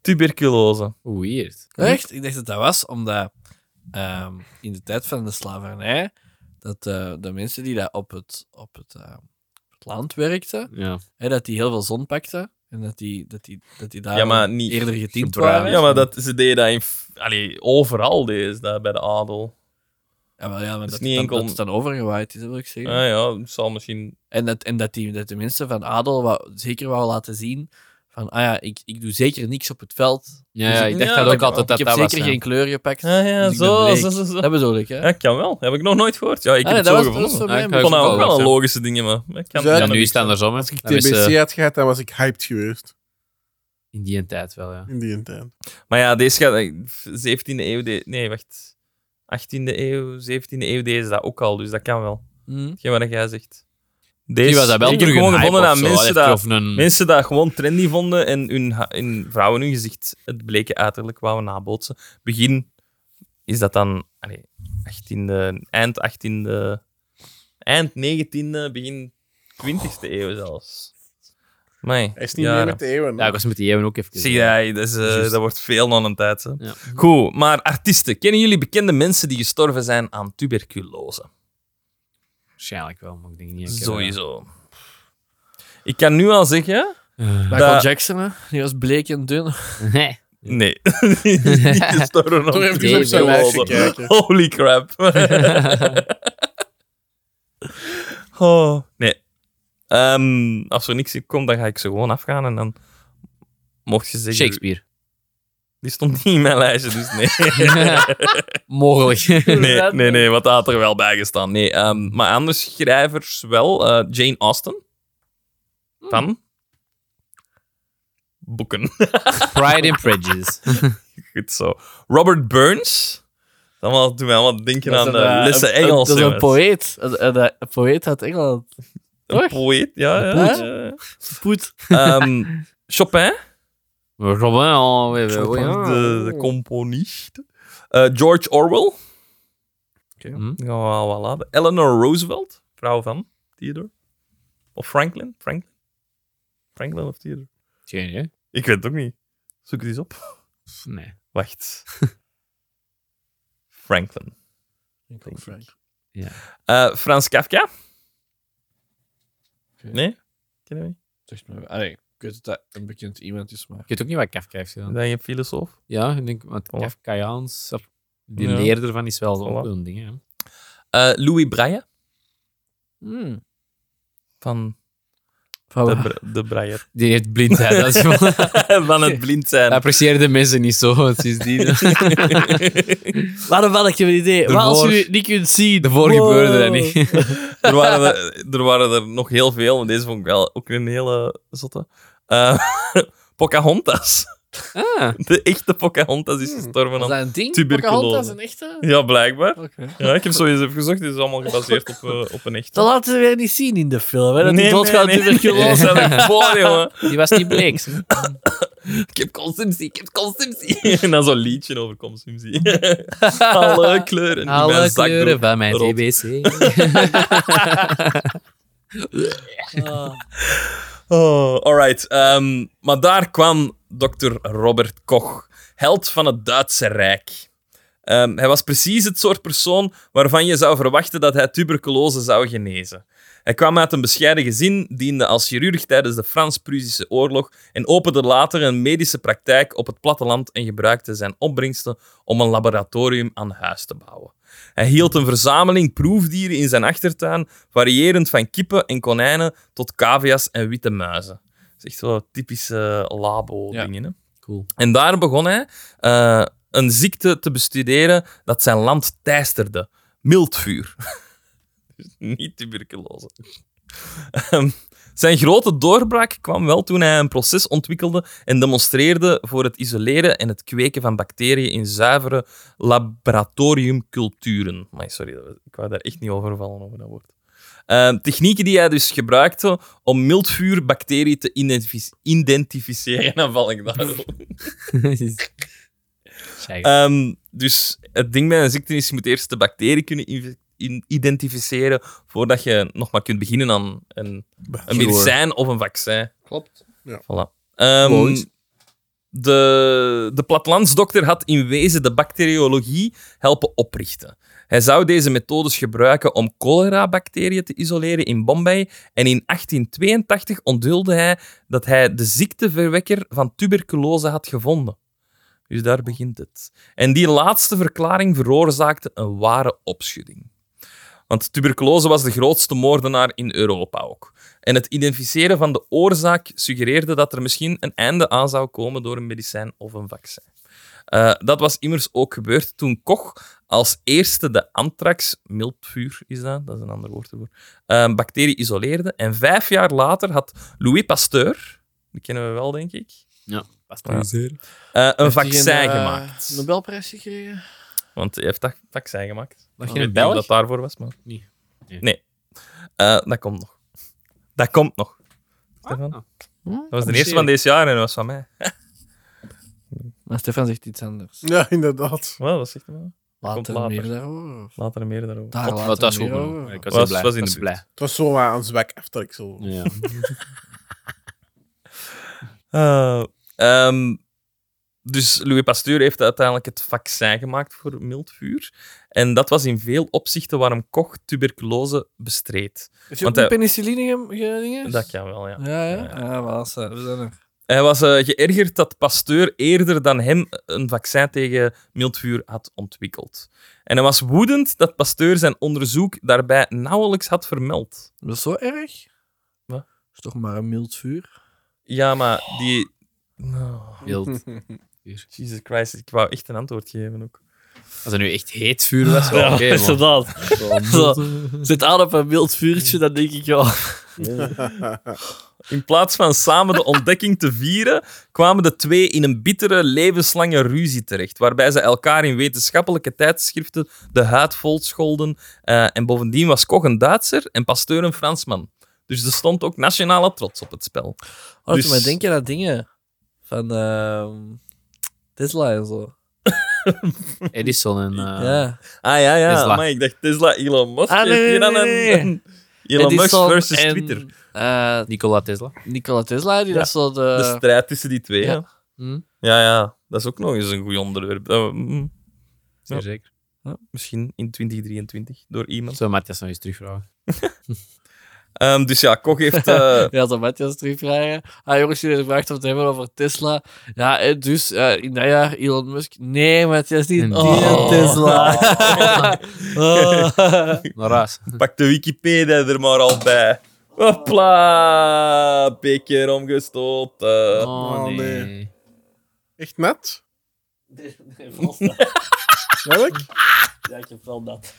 Speaker 1: Tuberculose.
Speaker 4: Weird.
Speaker 5: Echt? Ik dacht dat dat was omdat ehm, in de tijd van de slavernij, dat eh, de mensen die daar op het, op het, eh, op het land werkten,
Speaker 4: Ja. Dus
Speaker 5: hè, dat die heel veel zon pakten en dat die, dat die, dat die daar
Speaker 1: Ja, maar niet
Speaker 5: eerder getint
Speaker 4: gebruikt.
Speaker 5: waren.
Speaker 1: Ja, maar dat, ze deden dat in, f- allee, overal deden ze dat bij de adel.
Speaker 5: Ja, maar, ja, maar
Speaker 1: is
Speaker 5: dat,
Speaker 1: niet
Speaker 5: het dan,
Speaker 1: enkel-
Speaker 5: dat het dan overgewaaid is, wil ik zeggen.
Speaker 1: Ah ja, het zal misschien...
Speaker 5: En, dat, en dat, die, dat de mensen van adel wou- zeker wou laten zien van, ah ja, ik, ik doe zeker niks op het veld.
Speaker 4: Ja,
Speaker 5: Dus
Speaker 4: ik dacht
Speaker 1: ja,
Speaker 4: dat
Speaker 1: dat
Speaker 4: ook altijd dat
Speaker 5: ik
Speaker 4: dat
Speaker 5: heb
Speaker 4: was.
Speaker 5: zeker
Speaker 4: ja.
Speaker 5: geen kleur gepakt.
Speaker 1: Ah ja,
Speaker 5: Dus ik ben
Speaker 1: zo,
Speaker 5: bleek.
Speaker 1: zo, zo, zo.
Speaker 5: Dat bedoel ik, hè.
Speaker 1: Ja, kan wel. Heb ik nog nooit gehoord. Ja, ik
Speaker 5: Ah,
Speaker 1: heb
Speaker 5: nee,
Speaker 1: het zo
Speaker 5: dat was, dat was
Speaker 1: gevonden.
Speaker 5: voor
Speaker 4: Ah,
Speaker 5: mij
Speaker 4: ik
Speaker 5: een
Speaker 1: Ik vond
Speaker 5: beetje-
Speaker 1: dat ook wel
Speaker 4: Ja.
Speaker 1: een logische dingen, maar... Ik kan,
Speaker 3: Ja,
Speaker 4: Ja,
Speaker 1: kan niet
Speaker 4: nu is het
Speaker 1: zeggen.
Speaker 4: andersom. Hè.
Speaker 3: Als ik
Speaker 4: Dan is, eh,
Speaker 3: TBC had gehad, dan was ik hyped geweest.
Speaker 4: in die tijd wel, ja.
Speaker 3: In die tijd.
Speaker 1: Maar ja, deze gaat... eh, 17e eeuw... de- nee, wacht. 18e eeuw, 17e eeuw deze dat ook al, dus dat kan wel.
Speaker 5: Mhm.
Speaker 1: Hetgeen wat jij zegt. Deze
Speaker 4: Die was dat wel
Speaker 1: ik
Speaker 4: terug
Speaker 1: gewoon
Speaker 4: een hype
Speaker 1: gevonden
Speaker 4: of
Speaker 1: aan
Speaker 4: zo,
Speaker 1: mensen
Speaker 4: echt,
Speaker 1: dat...
Speaker 4: Of een...
Speaker 1: Mensen dat gewoon trendy vonden en hun, ha- hun vrouwen hun gezicht het bleke uiterlijk wouden nabootsen. Begin is dat dan allee, 18e, eind 18e, eind 19e, begin 20e eeuw zelfs. Maar
Speaker 3: Hij is niet meer met de eeuwen.
Speaker 4: Ja,
Speaker 3: hè.
Speaker 4: ik was met die even ook even.
Speaker 1: Zie jij, dat, is, eh,
Speaker 4: Juist.
Speaker 1: dat wordt veel aan een tijd. Hè.
Speaker 4: Ja.
Speaker 1: Goed, maar artiesten, kennen jullie bekende mensen die gestorven zijn aan tuberculose?
Speaker 4: Waarschijnlijk wel, maar ik denk niet. ik eh, heb-
Speaker 1: Sowieso. Ik kan nu al zeggen.
Speaker 4: Eh,
Speaker 5: Michael
Speaker 1: Dat-
Speaker 5: Jackson, hè. Die was bleek en dun.
Speaker 4: *laughs* nee.
Speaker 1: Nee, *laughs* Die is niet gestorven aan
Speaker 3: Toch even
Speaker 4: Nee,
Speaker 3: op zijn
Speaker 4: nee,
Speaker 3: lijstje
Speaker 1: tuberculose.
Speaker 3: kijken.
Speaker 1: Holy
Speaker 3: *laughs*
Speaker 1: crap. oh, nee. Ehm, als er niks komt, dan ga ik ze gewoon afgaan en dan mocht je zeggen...
Speaker 4: Shakespeare.
Speaker 1: Die stond niet in mijn lijstje, dus
Speaker 3: *laughs*
Speaker 1: nee.
Speaker 4: *laughs* Mogelijk.
Speaker 1: nee, nee, nee, wat had er wel bij gestaan. Nee, ehm, maar andere schrijvers wel. eh, Jane Austen.
Speaker 3: Hmm.
Speaker 1: Van? Boeken.
Speaker 4: Pride and Prejudice.
Speaker 1: Goed zo. Robert Burns. Dan wel, doen we allemaal denken aan de
Speaker 5: een,
Speaker 1: lessen
Speaker 5: een-
Speaker 1: Engels.
Speaker 5: Dat is een
Speaker 1: jongens.
Speaker 5: poëet. Een, een- een poëet uit Engeland.
Speaker 1: Een poëet, ja. ja,
Speaker 5: Poet.
Speaker 1: ja.
Speaker 5: Poet.
Speaker 1: *laughs* Ehm, Chopin,
Speaker 4: *laughs* Robin, oh, we- we- we- ja. oh.
Speaker 1: de, de componist. Eh, George Orwell.
Speaker 4: Hm?
Speaker 1: Ja, wel, wel later. Eleanor Roosevelt, vrouw van Theodore. Of Franklin? Franklin? Franklin of Theodore?
Speaker 4: Geen idee.
Speaker 1: Ik weet het ook niet. Zoek het eens op.
Speaker 4: Nee.
Speaker 5: *laughs*
Speaker 1: Wacht. Franklin.
Speaker 4: Ja.
Speaker 1: Eh, Frans Kafka? Nee? Ken je niet?
Speaker 5: Zegt me, allee, ik weet dat dat een bekend iemand is, maar...
Speaker 4: Ik weet ook niet wat Kafka heeft gedaan.
Speaker 1: Ben je filosoof?
Speaker 4: Ja, ik denk, want
Speaker 1: Voilà.
Speaker 4: Kafkaans, dat- die
Speaker 1: Ja.
Speaker 4: leerder van is wel zo'n
Speaker 1: Voilà.
Speaker 4: ding. Hè.
Speaker 1: Eh, Louis Braille
Speaker 5: Hmm.
Speaker 1: van
Speaker 5: Van
Speaker 1: de,
Speaker 5: waar?
Speaker 1: Br- de Braille.
Speaker 5: *laughs*
Speaker 4: Die heeft blindheid. Dat is gewoon,
Speaker 1: *laughs* van het blind zijn.
Speaker 4: dat apprecieerde mensen niet zo. Sindsdien.
Speaker 5: Waarom had ik je een idee? Wat als
Speaker 4: Ervoor-
Speaker 5: je het niet kunt zien?
Speaker 4: Daarvoor gebeurde dat niet.
Speaker 1: *laughs* er, waren er, er waren er nog heel veel, maar deze vond ik wel ook een hele zotte. Eh, *laughs* Pocahontas.
Speaker 4: *laughs* Ah.
Speaker 1: De echte Pocahontas is gestorven
Speaker 5: Hmm. Was
Speaker 1: aan...
Speaker 5: dat een ding?
Speaker 1: Tuberculose.
Speaker 5: Pocahontas, een echte?
Speaker 1: Ja, blijkbaar.
Speaker 5: Oké.
Speaker 1: Ja, ik heb sowieso even gezocht. Het is allemaal gebaseerd op, eh, op een echte.
Speaker 5: Dat laten ze weer niet zien in de film, hè? Dat die doodgaat
Speaker 1: *laughs* nee.
Speaker 5: tuberculose.
Speaker 1: Stel je voor, jongen.
Speaker 4: Die was niet
Speaker 1: *laughs*
Speaker 4: bleek. hè.
Speaker 1: Ik heb consumptie, ik heb consumptie. *laughs* En dan zo'n liedje over consumptie. *laughs* Alle kleuren in
Speaker 4: Alle
Speaker 1: mijn zakdoek.
Speaker 4: kleuren van mijn
Speaker 1: Rot. *laughs*
Speaker 4: TBC.
Speaker 5: Ah.
Speaker 1: Oh, alright. Ehm, maar daar kwam dokter Robert Koch, held van het Duitse Rijk. Ehm, hij was precies het soort persoon waarvan je zou verwachten dat hij tuberculose zou genezen. Hij kwam uit een bescheiden gezin, diende als chirurg tijdens de Frans-Prussische oorlog en opende later een medische praktijk op het platteland en gebruikte zijn opbrengsten om een laboratorium aan huis te bouwen. Hij hield een verzameling proefdieren in zijn achtertuin, variërend van kippen en konijnen tot cavia's en witte muizen. Dat is echt wel typische labo-dingen. hè.
Speaker 4: Cool.
Speaker 1: En daar begon hij eh, een ziekte te bestuderen dat zijn land teisterde. Mildvuur. *laughs* Dus Niet tuberculose. Ehm, zijn grote doorbraak kwam wel toen hij een proces ontwikkelde en demonstreerde voor het isoleren en het kweken van bacteriën in zuivere laboratoriumculturen. Maar sorry, dat was- ik wou daar echt niet over vallen over dat woord. Ehm, technieken die hij dus gebruikte om mildvuurbacteriën te identifi- identificeren. *laughs* Dan val ik daarop.
Speaker 4: Schijf.
Speaker 1: Ehm, dus het ding bij een ziekte is, je moet eerst de bacterie kunnen inv- in- identificeren voordat je nog maar kunt beginnen aan een, een medicijn of een vaccin.
Speaker 3: Klopt. Ja.
Speaker 1: Voilà. Ehm,
Speaker 5: Logisch.
Speaker 1: De, de plattelandsdokter had in wezen de bacteriologie helpen oprichten. Hij zou deze methodes gebruiken om cholera-bacteriën te isoleren in Bombay. En in 1882 onthulde hij dat hij de ziekteverwekker van tuberculose had gevonden. Dus daar begint het. En die laatste verklaring veroorzaakte een ware opschudding. Want tuberculose was de grootste moordenaar in Europa ook. En het identificeren van de oorzaak suggereerde dat er misschien een einde aan zou komen door een medicijn of een vaccin. Eh, dat was immers ook gebeurd toen Koch als eerste de anthrax, miltvuur is dat, dat is een ander woord ervoor, eh, bacterie isoleerde. En vijf jaar later had Louis Pasteur, die kennen we wel, denk ik, Ja. eh, een vaccin gemaakt.
Speaker 5: Nobelprijs gekregen?
Speaker 1: Want hij heeft dat vaccin gemaakt.
Speaker 4: Mag
Speaker 1: Ik
Speaker 4: je
Speaker 1: weet niet
Speaker 4: een
Speaker 1: of
Speaker 4: Belg?
Speaker 1: dat daarvoor was, maar...
Speaker 4: Nee.
Speaker 1: Nee.
Speaker 4: Nee.
Speaker 1: Eh, dat komt nog. Dat komt nog. Stefan?
Speaker 4: ah.
Speaker 1: Dat was de eerste van deze jaar en dat was van mij.
Speaker 5: Maar Stefan zegt iets anders.
Speaker 3: Ja, inderdaad.
Speaker 1: Wel, dat zegt hij wel. Komt
Speaker 5: Later,
Speaker 1: later.
Speaker 5: meer daarover. of?
Speaker 1: Later meer daarover.
Speaker 5: Daar
Speaker 4: Wat-
Speaker 5: later
Speaker 4: wat- Dat is
Speaker 5: meer
Speaker 4: goed.
Speaker 5: over.
Speaker 4: genoeg. Ik was,
Speaker 1: Was-
Speaker 4: heel blij.
Speaker 1: was in de
Speaker 4: was
Speaker 1: buurt.
Speaker 4: blij.
Speaker 3: Het was zo aan ons back after ik zo.
Speaker 4: Ja.
Speaker 1: Eh, ehm, dus Louis Pasteur heeft uiteindelijk het vaccin gemaakt voor miltvuur. En dat was in veel opzichten waarom Koch tuberculose bestreed.
Speaker 5: Heeft
Speaker 1: Want
Speaker 5: hij ook
Speaker 1: hij-
Speaker 5: een penicilline ge- ge- dingen?
Speaker 1: Dat kan wel, ja.
Speaker 5: Ja, ja. Ah, voilà, zo. we zijn er.
Speaker 1: Hij was eh, geërgerd dat Pasteur eerder dan hem een vaccin tegen miltvuur had ontwikkeld. En hij was woedend dat Pasteur zijn onderzoek daarbij nauwelijks had vermeld.
Speaker 5: Dat is zo erg?
Speaker 1: Wat?
Speaker 5: is toch maar een mild vuur?
Speaker 1: Ja, maar die... Nou, *laughs*
Speaker 4: Wild.
Speaker 1: Jesus Christ, ik wou echt een antwoord geven ook.
Speaker 4: Als er nu echt heet
Speaker 1: *laughs*
Speaker 4: vuur was, oké.
Speaker 2: Ja,
Speaker 4: maar-
Speaker 2: inderdaad. Zo, Zit aan op een wild vuurtje, dan denk ik, ja.
Speaker 1: In plaats van samen *laughs* de ontdekking te vieren, kwamen de twee in een bittere, levenslange ruzie terecht, waarbij ze elkaar in wetenschappelijke tijdschriften de huid vol scholden. Eh, en bovendien was Koch een Duitser en Pasteur een Fransman. Dus er stond ook nationale trots op het spel.
Speaker 5: Oh,
Speaker 1: Dus-
Speaker 5: dus... maar denk je aan dingen van ehm Tesla en zo?
Speaker 4: Edison en... eh,
Speaker 5: ja.
Speaker 1: Ah ja, ja.
Speaker 4: Tesla.
Speaker 1: Amai, ik dacht Tesla, Elon Musk.
Speaker 5: Ah, nee,
Speaker 1: Heeft hier dan
Speaker 5: nee, nee, nee.
Speaker 1: een- Elon Musk
Speaker 5: Edison
Speaker 1: versus
Speaker 5: en,
Speaker 1: Twitter.
Speaker 5: eh,
Speaker 4: Nikola Tesla.
Speaker 5: Nikola Tesla, die
Speaker 1: Ja.
Speaker 5: dat zo de...
Speaker 1: De strijd tussen die twee.
Speaker 5: ja.
Speaker 1: Eh, Ja,
Speaker 5: Hm?
Speaker 1: ja, ja. dat is ook nog eens een goed onderwerp. Eh, mm, Ja.
Speaker 4: Zeer zeker.
Speaker 1: misschien in 2023 door iemand.
Speaker 4: Zullen we Matthias nog eens
Speaker 1: *laughs*
Speaker 4: terugvragen?
Speaker 1: Ehm, dus ja, Koch heeft. eh, *laughs*
Speaker 5: Ja, dan Matthias terugvragen. Ah, jongens, jullie vragen het hebben over Tesla. Ja, en dus eh, in dat jaar Elon Musk. Nee, Matthias, niet die *laughs*
Speaker 4: Oh.
Speaker 5: Tesla. Oh.
Speaker 4: Naar huis.
Speaker 1: Pak de Wikipedia er maar al bij. Hopla, beker omgestoten.
Speaker 4: *laughs* Oh,
Speaker 3: nee.
Speaker 4: nee.
Speaker 3: Echt net? Welk?
Speaker 2: Ja, ik heb wel dat.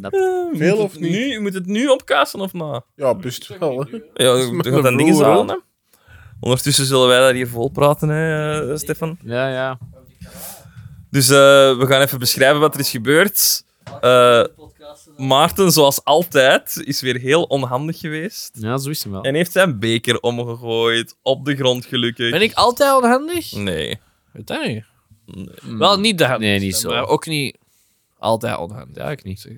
Speaker 4: Dat
Speaker 1: Eh, moet
Speaker 3: Veel
Speaker 1: het
Speaker 3: of niet?
Speaker 1: Nu, moet het nu opkassen of na?
Speaker 3: Ja, best wel. Hè.
Speaker 1: Ja,
Speaker 3: is
Speaker 1: je
Speaker 3: met
Speaker 1: gaat
Speaker 3: mijn
Speaker 1: dan dingen
Speaker 3: broer,
Speaker 1: halen. hè. Ondertussen zullen wij daar hier vol praten, hè, eh, Stefan.
Speaker 4: Ja, ja.
Speaker 1: Dus eh, we gaan even beschrijven wat er is gebeurd. Eh, Maarten, zoals altijd, is weer heel onhandig geweest.
Speaker 4: Ja, zo is hem wel.
Speaker 1: En heeft zijn beker omgegooid, op de grond gelukkig.
Speaker 5: Ben ik altijd onhandig?
Speaker 1: Nee.
Speaker 5: Weet dat niet.
Speaker 1: Nee.
Speaker 5: Wel niet de hand.
Speaker 4: Hmm. Mm. Nee, niet zo.
Speaker 5: Maar ook niet altijd onhandig.
Speaker 4: Ja, ik niet.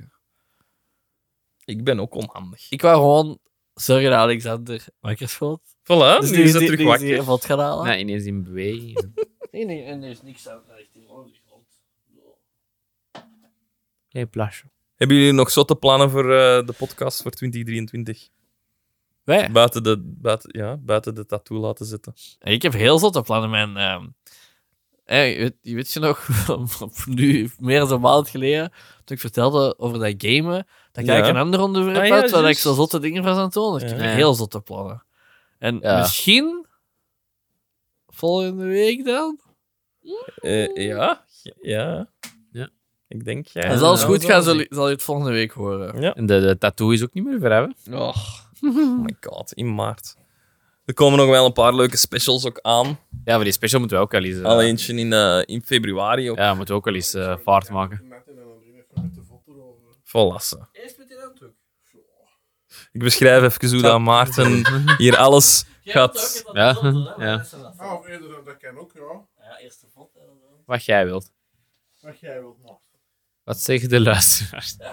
Speaker 1: Ik ben ook onhandig.
Speaker 5: Ik wou gewoon zorgen dat Alexander Wakkersveld.
Speaker 1: Voilà,
Speaker 5: Dus
Speaker 1: Oh, nu
Speaker 5: die-
Speaker 1: is het
Speaker 5: die-
Speaker 1: terug
Speaker 5: die- die
Speaker 1: wakker.
Speaker 5: valt gaan halen.
Speaker 4: Nee, ineens in beweging.
Speaker 5: Nee, nee, en er is niks aan echt in ondergrond.
Speaker 4: Geen plasje.
Speaker 1: Hebben jullie nog zotte plannen voor eh, de podcast voor 2023?
Speaker 5: Wij?
Speaker 1: Buiten de, buiten, ja, buiten de tattoo laten zitten.
Speaker 5: Ik heb heel zotte plannen, man. ehm. Hé, je, weet, je weet je nog, *laughs* op nu, meer dan een maand geleden, toen ik vertelde over dat gamen, dat ik
Speaker 1: Ja.
Speaker 5: eigenlijk een ander onderwerp
Speaker 1: Ah, ja,
Speaker 5: had, waar ik
Speaker 1: juist.
Speaker 5: zo zotte dingen van aan toon. Ik heb
Speaker 1: Ja.
Speaker 5: heel zotte plannen. En
Speaker 4: Ja.
Speaker 5: misschien volgende week dan?
Speaker 1: Eh, ja, ja,
Speaker 4: Ja.
Speaker 1: Ik denk jij.
Speaker 5: Als alles
Speaker 1: Ja, Oh
Speaker 5: goed
Speaker 1: zo.
Speaker 5: gaat, zal, zal je het volgende week horen.
Speaker 4: En de, de tattoo is ook niet meer ver, hè?
Speaker 1: Oh my god, in maart. Er komen nog wel een paar leuke specials ook aan.
Speaker 4: Ja, voor die special moeten we ook wel eens... eh,
Speaker 1: Al eentje in, eh, in februari ook.
Speaker 4: Ja, moeten we ook wel eens eh, vaart maken.
Speaker 1: Volassen. Ik beschrijf even hoe dat Maarten hier alles gaat.
Speaker 4: Ja, *laughs* ja.
Speaker 3: Ah, of eerder dan dat kan ook, ja.
Speaker 4: Wat jij wilt.
Speaker 3: Wat jij wilt, maar.
Speaker 4: Wat zeggen de luisteraars? *laughs*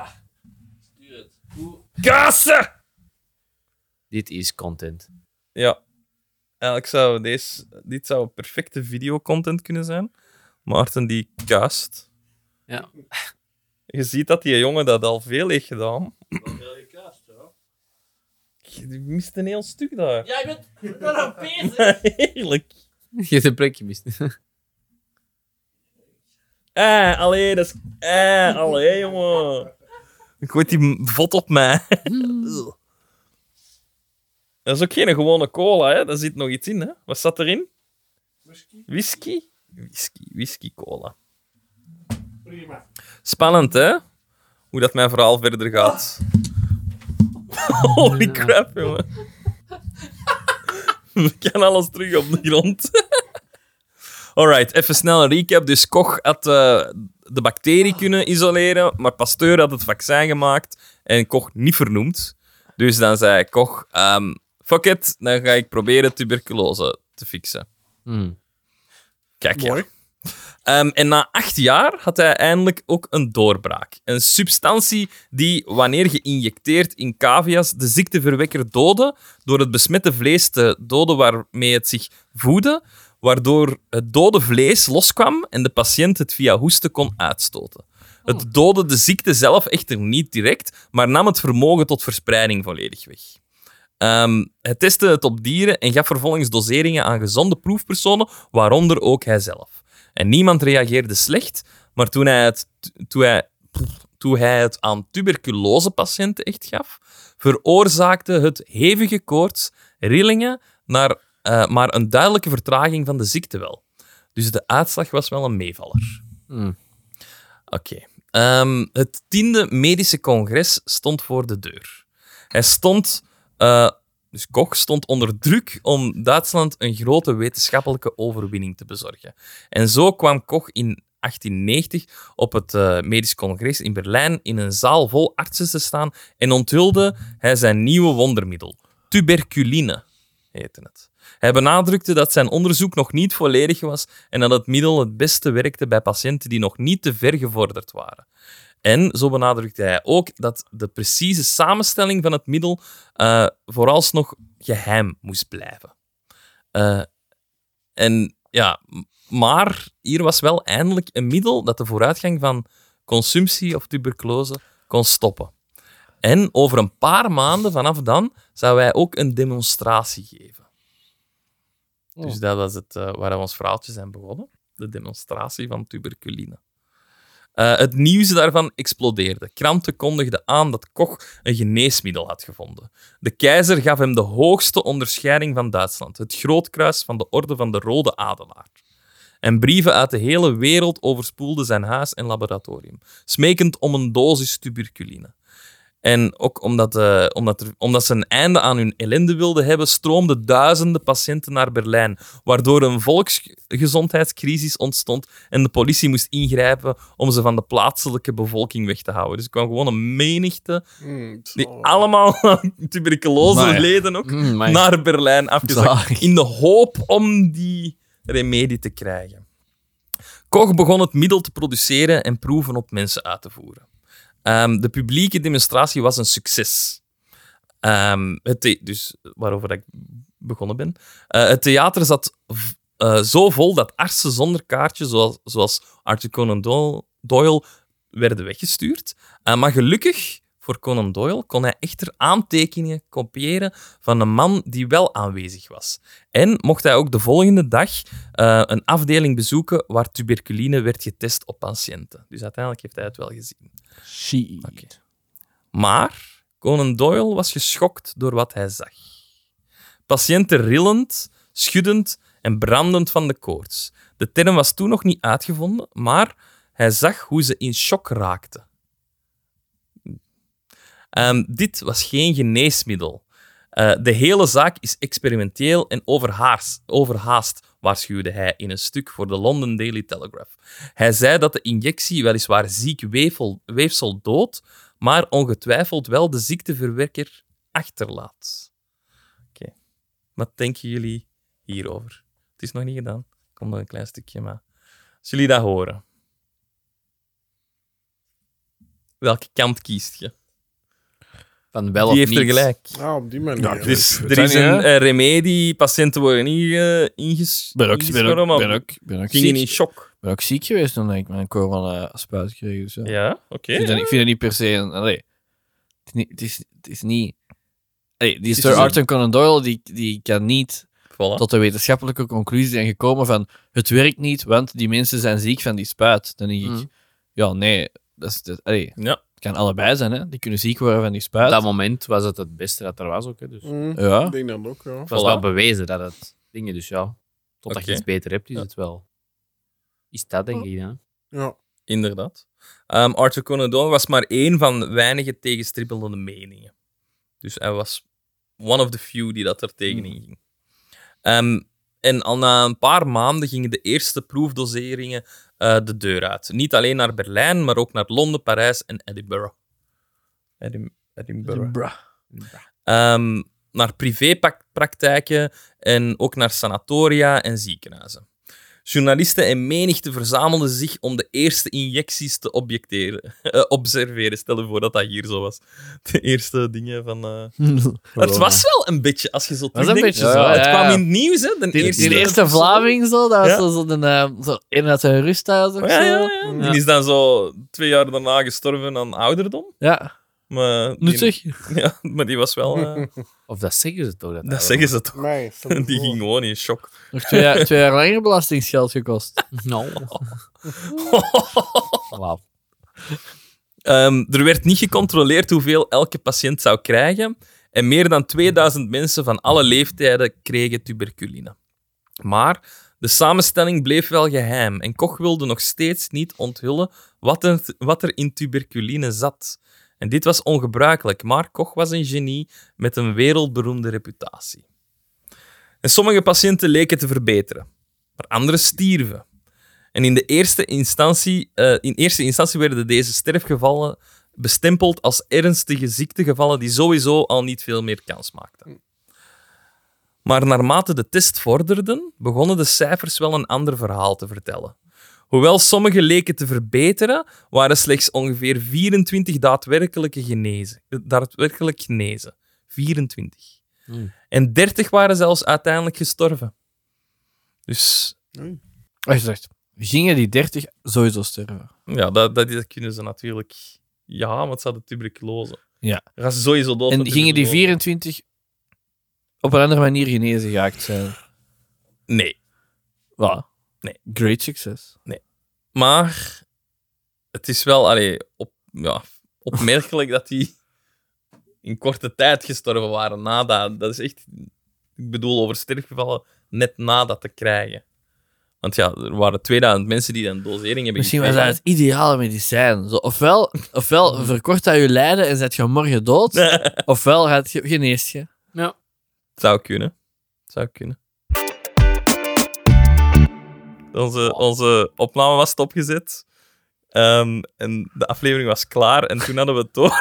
Speaker 1: Kassen!
Speaker 4: Dit is content.
Speaker 1: Ja. Eigenlijk zou deze, dit zou perfecte videocontent kunnen zijn. Maarten die kuist.
Speaker 4: Ja.
Speaker 1: Je ziet dat die jongen dat al veel heeft gedaan. Je mist een heel stuk daar.
Speaker 2: Ja, ik
Speaker 1: *laughs*
Speaker 2: ben daar bezig.
Speaker 1: Heerlijk.
Speaker 4: *laughs* Je hebt een prikje mis.
Speaker 1: Eh, allee, dat is... Eh, allee, jongen. Ik gooi die m- vod op mij. Ugh. dat is ook geen gewone cola, hè. Daar zit nog iets in, hè. Wat zat erin? Whisky. Whisky? Whisky cola.
Speaker 3: Prima.
Speaker 1: Spannend, hè? Hoe dat mijn verhaal verder gaat. Holy crap, jongen. *laughs* Ik kan alles terug op de grond. *laughs* Alright, even snel een recap. Dus Koch had eh, de bacterie kunnen isoleren, maar Pasteur had het vaccin gemaakt en Koch niet vernoemd. Dus dan zei Koch, ehm, fuck it, dan ga ik proberen tuberculose te fixen. Kijk, ja.
Speaker 3: Mooi.
Speaker 1: Ehm, en na acht jaar had hij eindelijk ook een doorbraak. Een substantie die, wanneer geïnjecteerd in cavia's, de ziekteverwekker doodde door het besmette vlees te doden waarmee het zich voedde, waardoor het dode vlees loskwam en de patiënt het via hoesten kon uitstoten. Het doodde de ziekte zelf echter niet direct, maar nam het vermogen tot verspreiding volledig weg. Ehm, hij testte het op dieren en gaf vervolgens doseringen aan gezonde proefpersonen, waaronder ook hijzelf. En niemand reageerde slecht, maar toen hij het, toen hij, toen hij het aan tuberculosepatiënten echt gaf, veroorzaakte het hevige koorts, rillingen, naar, eh, maar een duidelijke vertraging van de ziekte wel. Dus de uitslag was wel een meevaller.
Speaker 4: Hmm.
Speaker 1: Oké. Ehm, het tiende medische congres stond voor de deur. Hij stond, eh, dus Koch stond onder druk om Duitsland een grote wetenschappelijke overwinning te bezorgen. En zo kwam Koch in 1890 op het eh, Medisch Congres in Berlijn in een zaal vol artsen te staan en onthulde hij zijn nieuwe wondermiddel, tuberculine heette het. Hij benadrukte dat zijn onderzoek nog niet volledig was en dat het middel het beste werkte bij patiënten die nog niet te ver gevorderd waren. En zo benadrukte hij ook dat de precieze samenstelling van het middel eh, vooralsnog geheim moest blijven. Eh, en ja, m- maar hier was wel eindelijk een middel dat de vooruitgang van consumptie of tuberculose kon stoppen. En over een paar maanden vanaf dan zou wij ook een demonstratie geven. Dus dat was het eh, waar we ons verhaaltje zijn begonnen. De demonstratie van tuberculine. Eh, het nieuws daarvan explodeerde. Kranten kondigden aan dat Koch een geneesmiddel had gevonden. De keizer gaf hem de hoogste onderscheiding van Duitsland, het Grootkruis van de Orde van de Rode Adelaar. En brieven uit de hele wereld overspoelden zijn huis en laboratorium, smekend om een dosis tuberculine. En ook omdat, eh, omdat, er- omdat ze een einde aan hun ellende wilden hebben, stroomden duizenden patiënten naar Berlijn, waardoor een volksgezondheidscrisis ontstond en de politie moest ingrijpen om ze van de plaatselijke bevolking weg te houden. Dus er kwam gewoon een menigte,
Speaker 3: Mm,
Speaker 1: die
Speaker 3: zalig.
Speaker 1: allemaal *laughs* aan tuberculose
Speaker 5: Maar-
Speaker 1: leden ook,
Speaker 4: *laughs* Mm, maar-
Speaker 1: naar Berlijn afgezakt.
Speaker 5: Zalig.
Speaker 1: In de hoop om die remedie te krijgen. Koch begon het middel te produceren en proeven op mensen uit te voeren. Ehm, de publieke demonstratie was een succes. Ehm, het the- dus waarover ik begonnen ben. Eh, het theater zat v- eh, zo vol dat artsen zonder kaartje, zoals, zoals Arthur Conan Doyle, Doyle, werden weggestuurd. Eh, maar gelukkig voor Conan Doyle kon hij echter aantekeningen kopiëren van een man die wel aanwezig was. En mocht hij ook de volgende dag eh, een afdeling bezoeken waar tuberculine werd getest op patiënten. Dus uiteindelijk heeft hij het wel gezien.
Speaker 5: Shit.
Speaker 1: Maar Conan Doyle was geschokt door wat hij zag. Patiënten rillend, schuddend en brandend van de koorts. De term was toen nog niet uitgevonden, maar hij zag hoe ze in shock raakten. Ehm, dit was geen geneesmiddel. Eh, de hele zaak is experimenteel en overhaast, overhaast, waarschuwde hij in een stuk voor de London Daily Telegraph. Hij zei dat de injectie weliswaar ziek weefsel, weefsel doodt, maar ongetwijfeld wel de ziekteverwekker achterlaat. Oké. Wat denken jullie hierover? Het is nog niet gedaan. Er Komt nog een klein stukje, maar... Als jullie dat horen... Welke kant kiest je?
Speaker 4: Van wel
Speaker 1: Die
Speaker 4: of
Speaker 1: heeft
Speaker 4: niet.
Speaker 1: er gelijk.
Speaker 3: Ja, op die manier.
Speaker 5: Nou,
Speaker 3: dus...
Speaker 1: Dus
Speaker 5: weet
Speaker 1: er
Speaker 5: het
Speaker 1: is
Speaker 5: niet,
Speaker 1: een
Speaker 5: hè?
Speaker 1: eh, remedie, patiënten worden inge, inges,
Speaker 5: Ben ook, ben
Speaker 1: ingesproken,
Speaker 5: ook,
Speaker 1: maar
Speaker 5: ben ook, ben ook
Speaker 1: gingen
Speaker 5: ziek,
Speaker 1: in shock.
Speaker 5: ben ook ziek geweest toen ik mijn corona-spuit kreeg. Dus, ja.
Speaker 1: Ja, oké.
Speaker 5: Ik vind dat- ik vind het niet per se een... Allee, het, is niet, het, is, het is niet... Allee, die
Speaker 1: is dus
Speaker 5: Sir
Speaker 1: een-
Speaker 5: Arthur Conan Doyle die, die kan niet
Speaker 1: Voilà.
Speaker 5: tot de wetenschappelijke conclusie zijn gekomen van het werkt niet, want die mensen zijn ziek van die spuit. Dan denk ik,
Speaker 4: Mm.
Speaker 5: ja, nee, dat is, dat, allee,
Speaker 1: Ja.
Speaker 5: het kan allebei zijn, hè. Die kunnen ziek worden van die spuit.
Speaker 4: Op dat moment was het het beste dat er was ook. Hè, dus.
Speaker 3: Mm,
Speaker 5: ja.
Speaker 3: Ik denk dat ook, ja.
Speaker 4: Het was
Speaker 1: Voilà.
Speaker 4: wel bewezen dat het dingen, dus ja. Totdat
Speaker 1: Oké.
Speaker 4: je iets beter hebt, is
Speaker 1: Ja.
Speaker 4: het wel. Is dat, denk ik, ja.
Speaker 3: ja.
Speaker 1: Inderdaad. Ehm, Arthur Conan Doyle was maar één van weinige tegenstribbelende meningen. Dus hij was one of the few die dat er tegenin ging. Ehm, en al na een paar maanden gingen de eerste proefdoseringen eh, de deur uit. Niet alleen naar Berlijn, maar ook naar Londen, Parijs en Edinburgh. Edim- Edinburgh. Ehm, naar privépraktijken en ook naar sanatoria en ziekenhuizen. Journalisten en menigte verzamelden zich om de eerste injecties te objecteren, *laughs* eh, observeren. Stel je voor dat dat hier zo was. *laughs* De eerste dingen van... eh, Het was wel een beetje, als je zo
Speaker 4: een
Speaker 1: terugdenkt.
Speaker 4: beetje zo,
Speaker 1: Het
Speaker 5: ja.
Speaker 1: kwam in het nieuws, hè. De
Speaker 5: Die,
Speaker 1: eerste,
Speaker 5: die eerste Vlaming zo, dat was
Speaker 1: Ja.
Speaker 5: zo, zo, een, eh, zo een uit zijn rusthuis of
Speaker 1: Ja, ja,
Speaker 5: zo.
Speaker 1: ja. Die is dan zo twee jaar daarna gestorven aan ouderdom.
Speaker 5: Ja,
Speaker 1: Maar die-
Speaker 5: nuttig.
Speaker 1: *laughs* Ja, maar die was wel... eh,
Speaker 4: Of dat zeggen ze toch? Dat,
Speaker 1: dat zeggen ze toch. *laughs*
Speaker 3: Nee, stel je
Speaker 1: Die
Speaker 3: voor.
Speaker 1: ging gewoon in shock. *laughs*
Speaker 5: Nog twee jaar, twee jaar langer belastingsgeld *laughs* gekost.
Speaker 4: *laughs* Nou,
Speaker 1: Oh.
Speaker 4: wauw.
Speaker 1: Ehm, er werd niet gecontroleerd hoeveel elke patiënt zou krijgen. En meer dan 2000 mensen van alle leeftijden kregen tuberculine. Maar de samenstelling bleef wel geheim. En Koch wilde nog steeds niet onthullen wat er, wat er in tuberculine zat. En dit was ongebruikelijk, maar Koch was een genie met een wereldberoemde reputatie. En sommige patiënten leken te verbeteren, maar anderen stierven. En in, de eerste instantie, eh, in eerste instantie werden deze sterfgevallen bestempeld als ernstige ziektegevallen die sowieso al niet veel meer kans maakten. Maar naarmate de test vorderden, begonnen de cijfers wel een ander verhaal te vertellen. Hoewel sommige leken te verbeteren, waren slechts ongeveer 24 daadwerkelijke genezen. Daadwerkelijk genezen. 24.
Speaker 4: Hmm.
Speaker 1: En 30 waren zelfs uiteindelijk gestorven. Dus
Speaker 5: Als je zegt, gingen die 30 sowieso sterven?
Speaker 1: Ja, dat, dat, dat kunnen ze natuurlijk. Ja, want ze hadden tuberculose.
Speaker 5: Ja.
Speaker 1: Dan Gaan ze sowieso dood.
Speaker 5: En
Speaker 1: van
Speaker 5: gingen die
Speaker 1: tuberculose.
Speaker 5: 24 op een andere manier genezen gehaakt zijn?
Speaker 1: Nee,
Speaker 5: Voilà.
Speaker 1: Nee.
Speaker 5: Great succes.
Speaker 1: maar het is wel allee, op, ja, opmerkelijk *laughs* dat die in korte tijd gestorven waren. Na dat, dat is echt, ik bedoel, over sterfgevallen net na dat te krijgen. Want ja, er waren 2000 mensen die dan dosering hebben
Speaker 5: Misschien was dat
Speaker 1: gekregen.
Speaker 5: het ideale medicijn. Zo, ofwel,
Speaker 1: *laughs*
Speaker 5: ofwel verkort dat je lijden en zet je morgen dood, ofwel gaat je, geneest je.
Speaker 1: Zou kunnen. Zou kunnen. Onze, onze opname was stopgezet. Ehm, en de aflevering was klaar. En toen hadden we het door.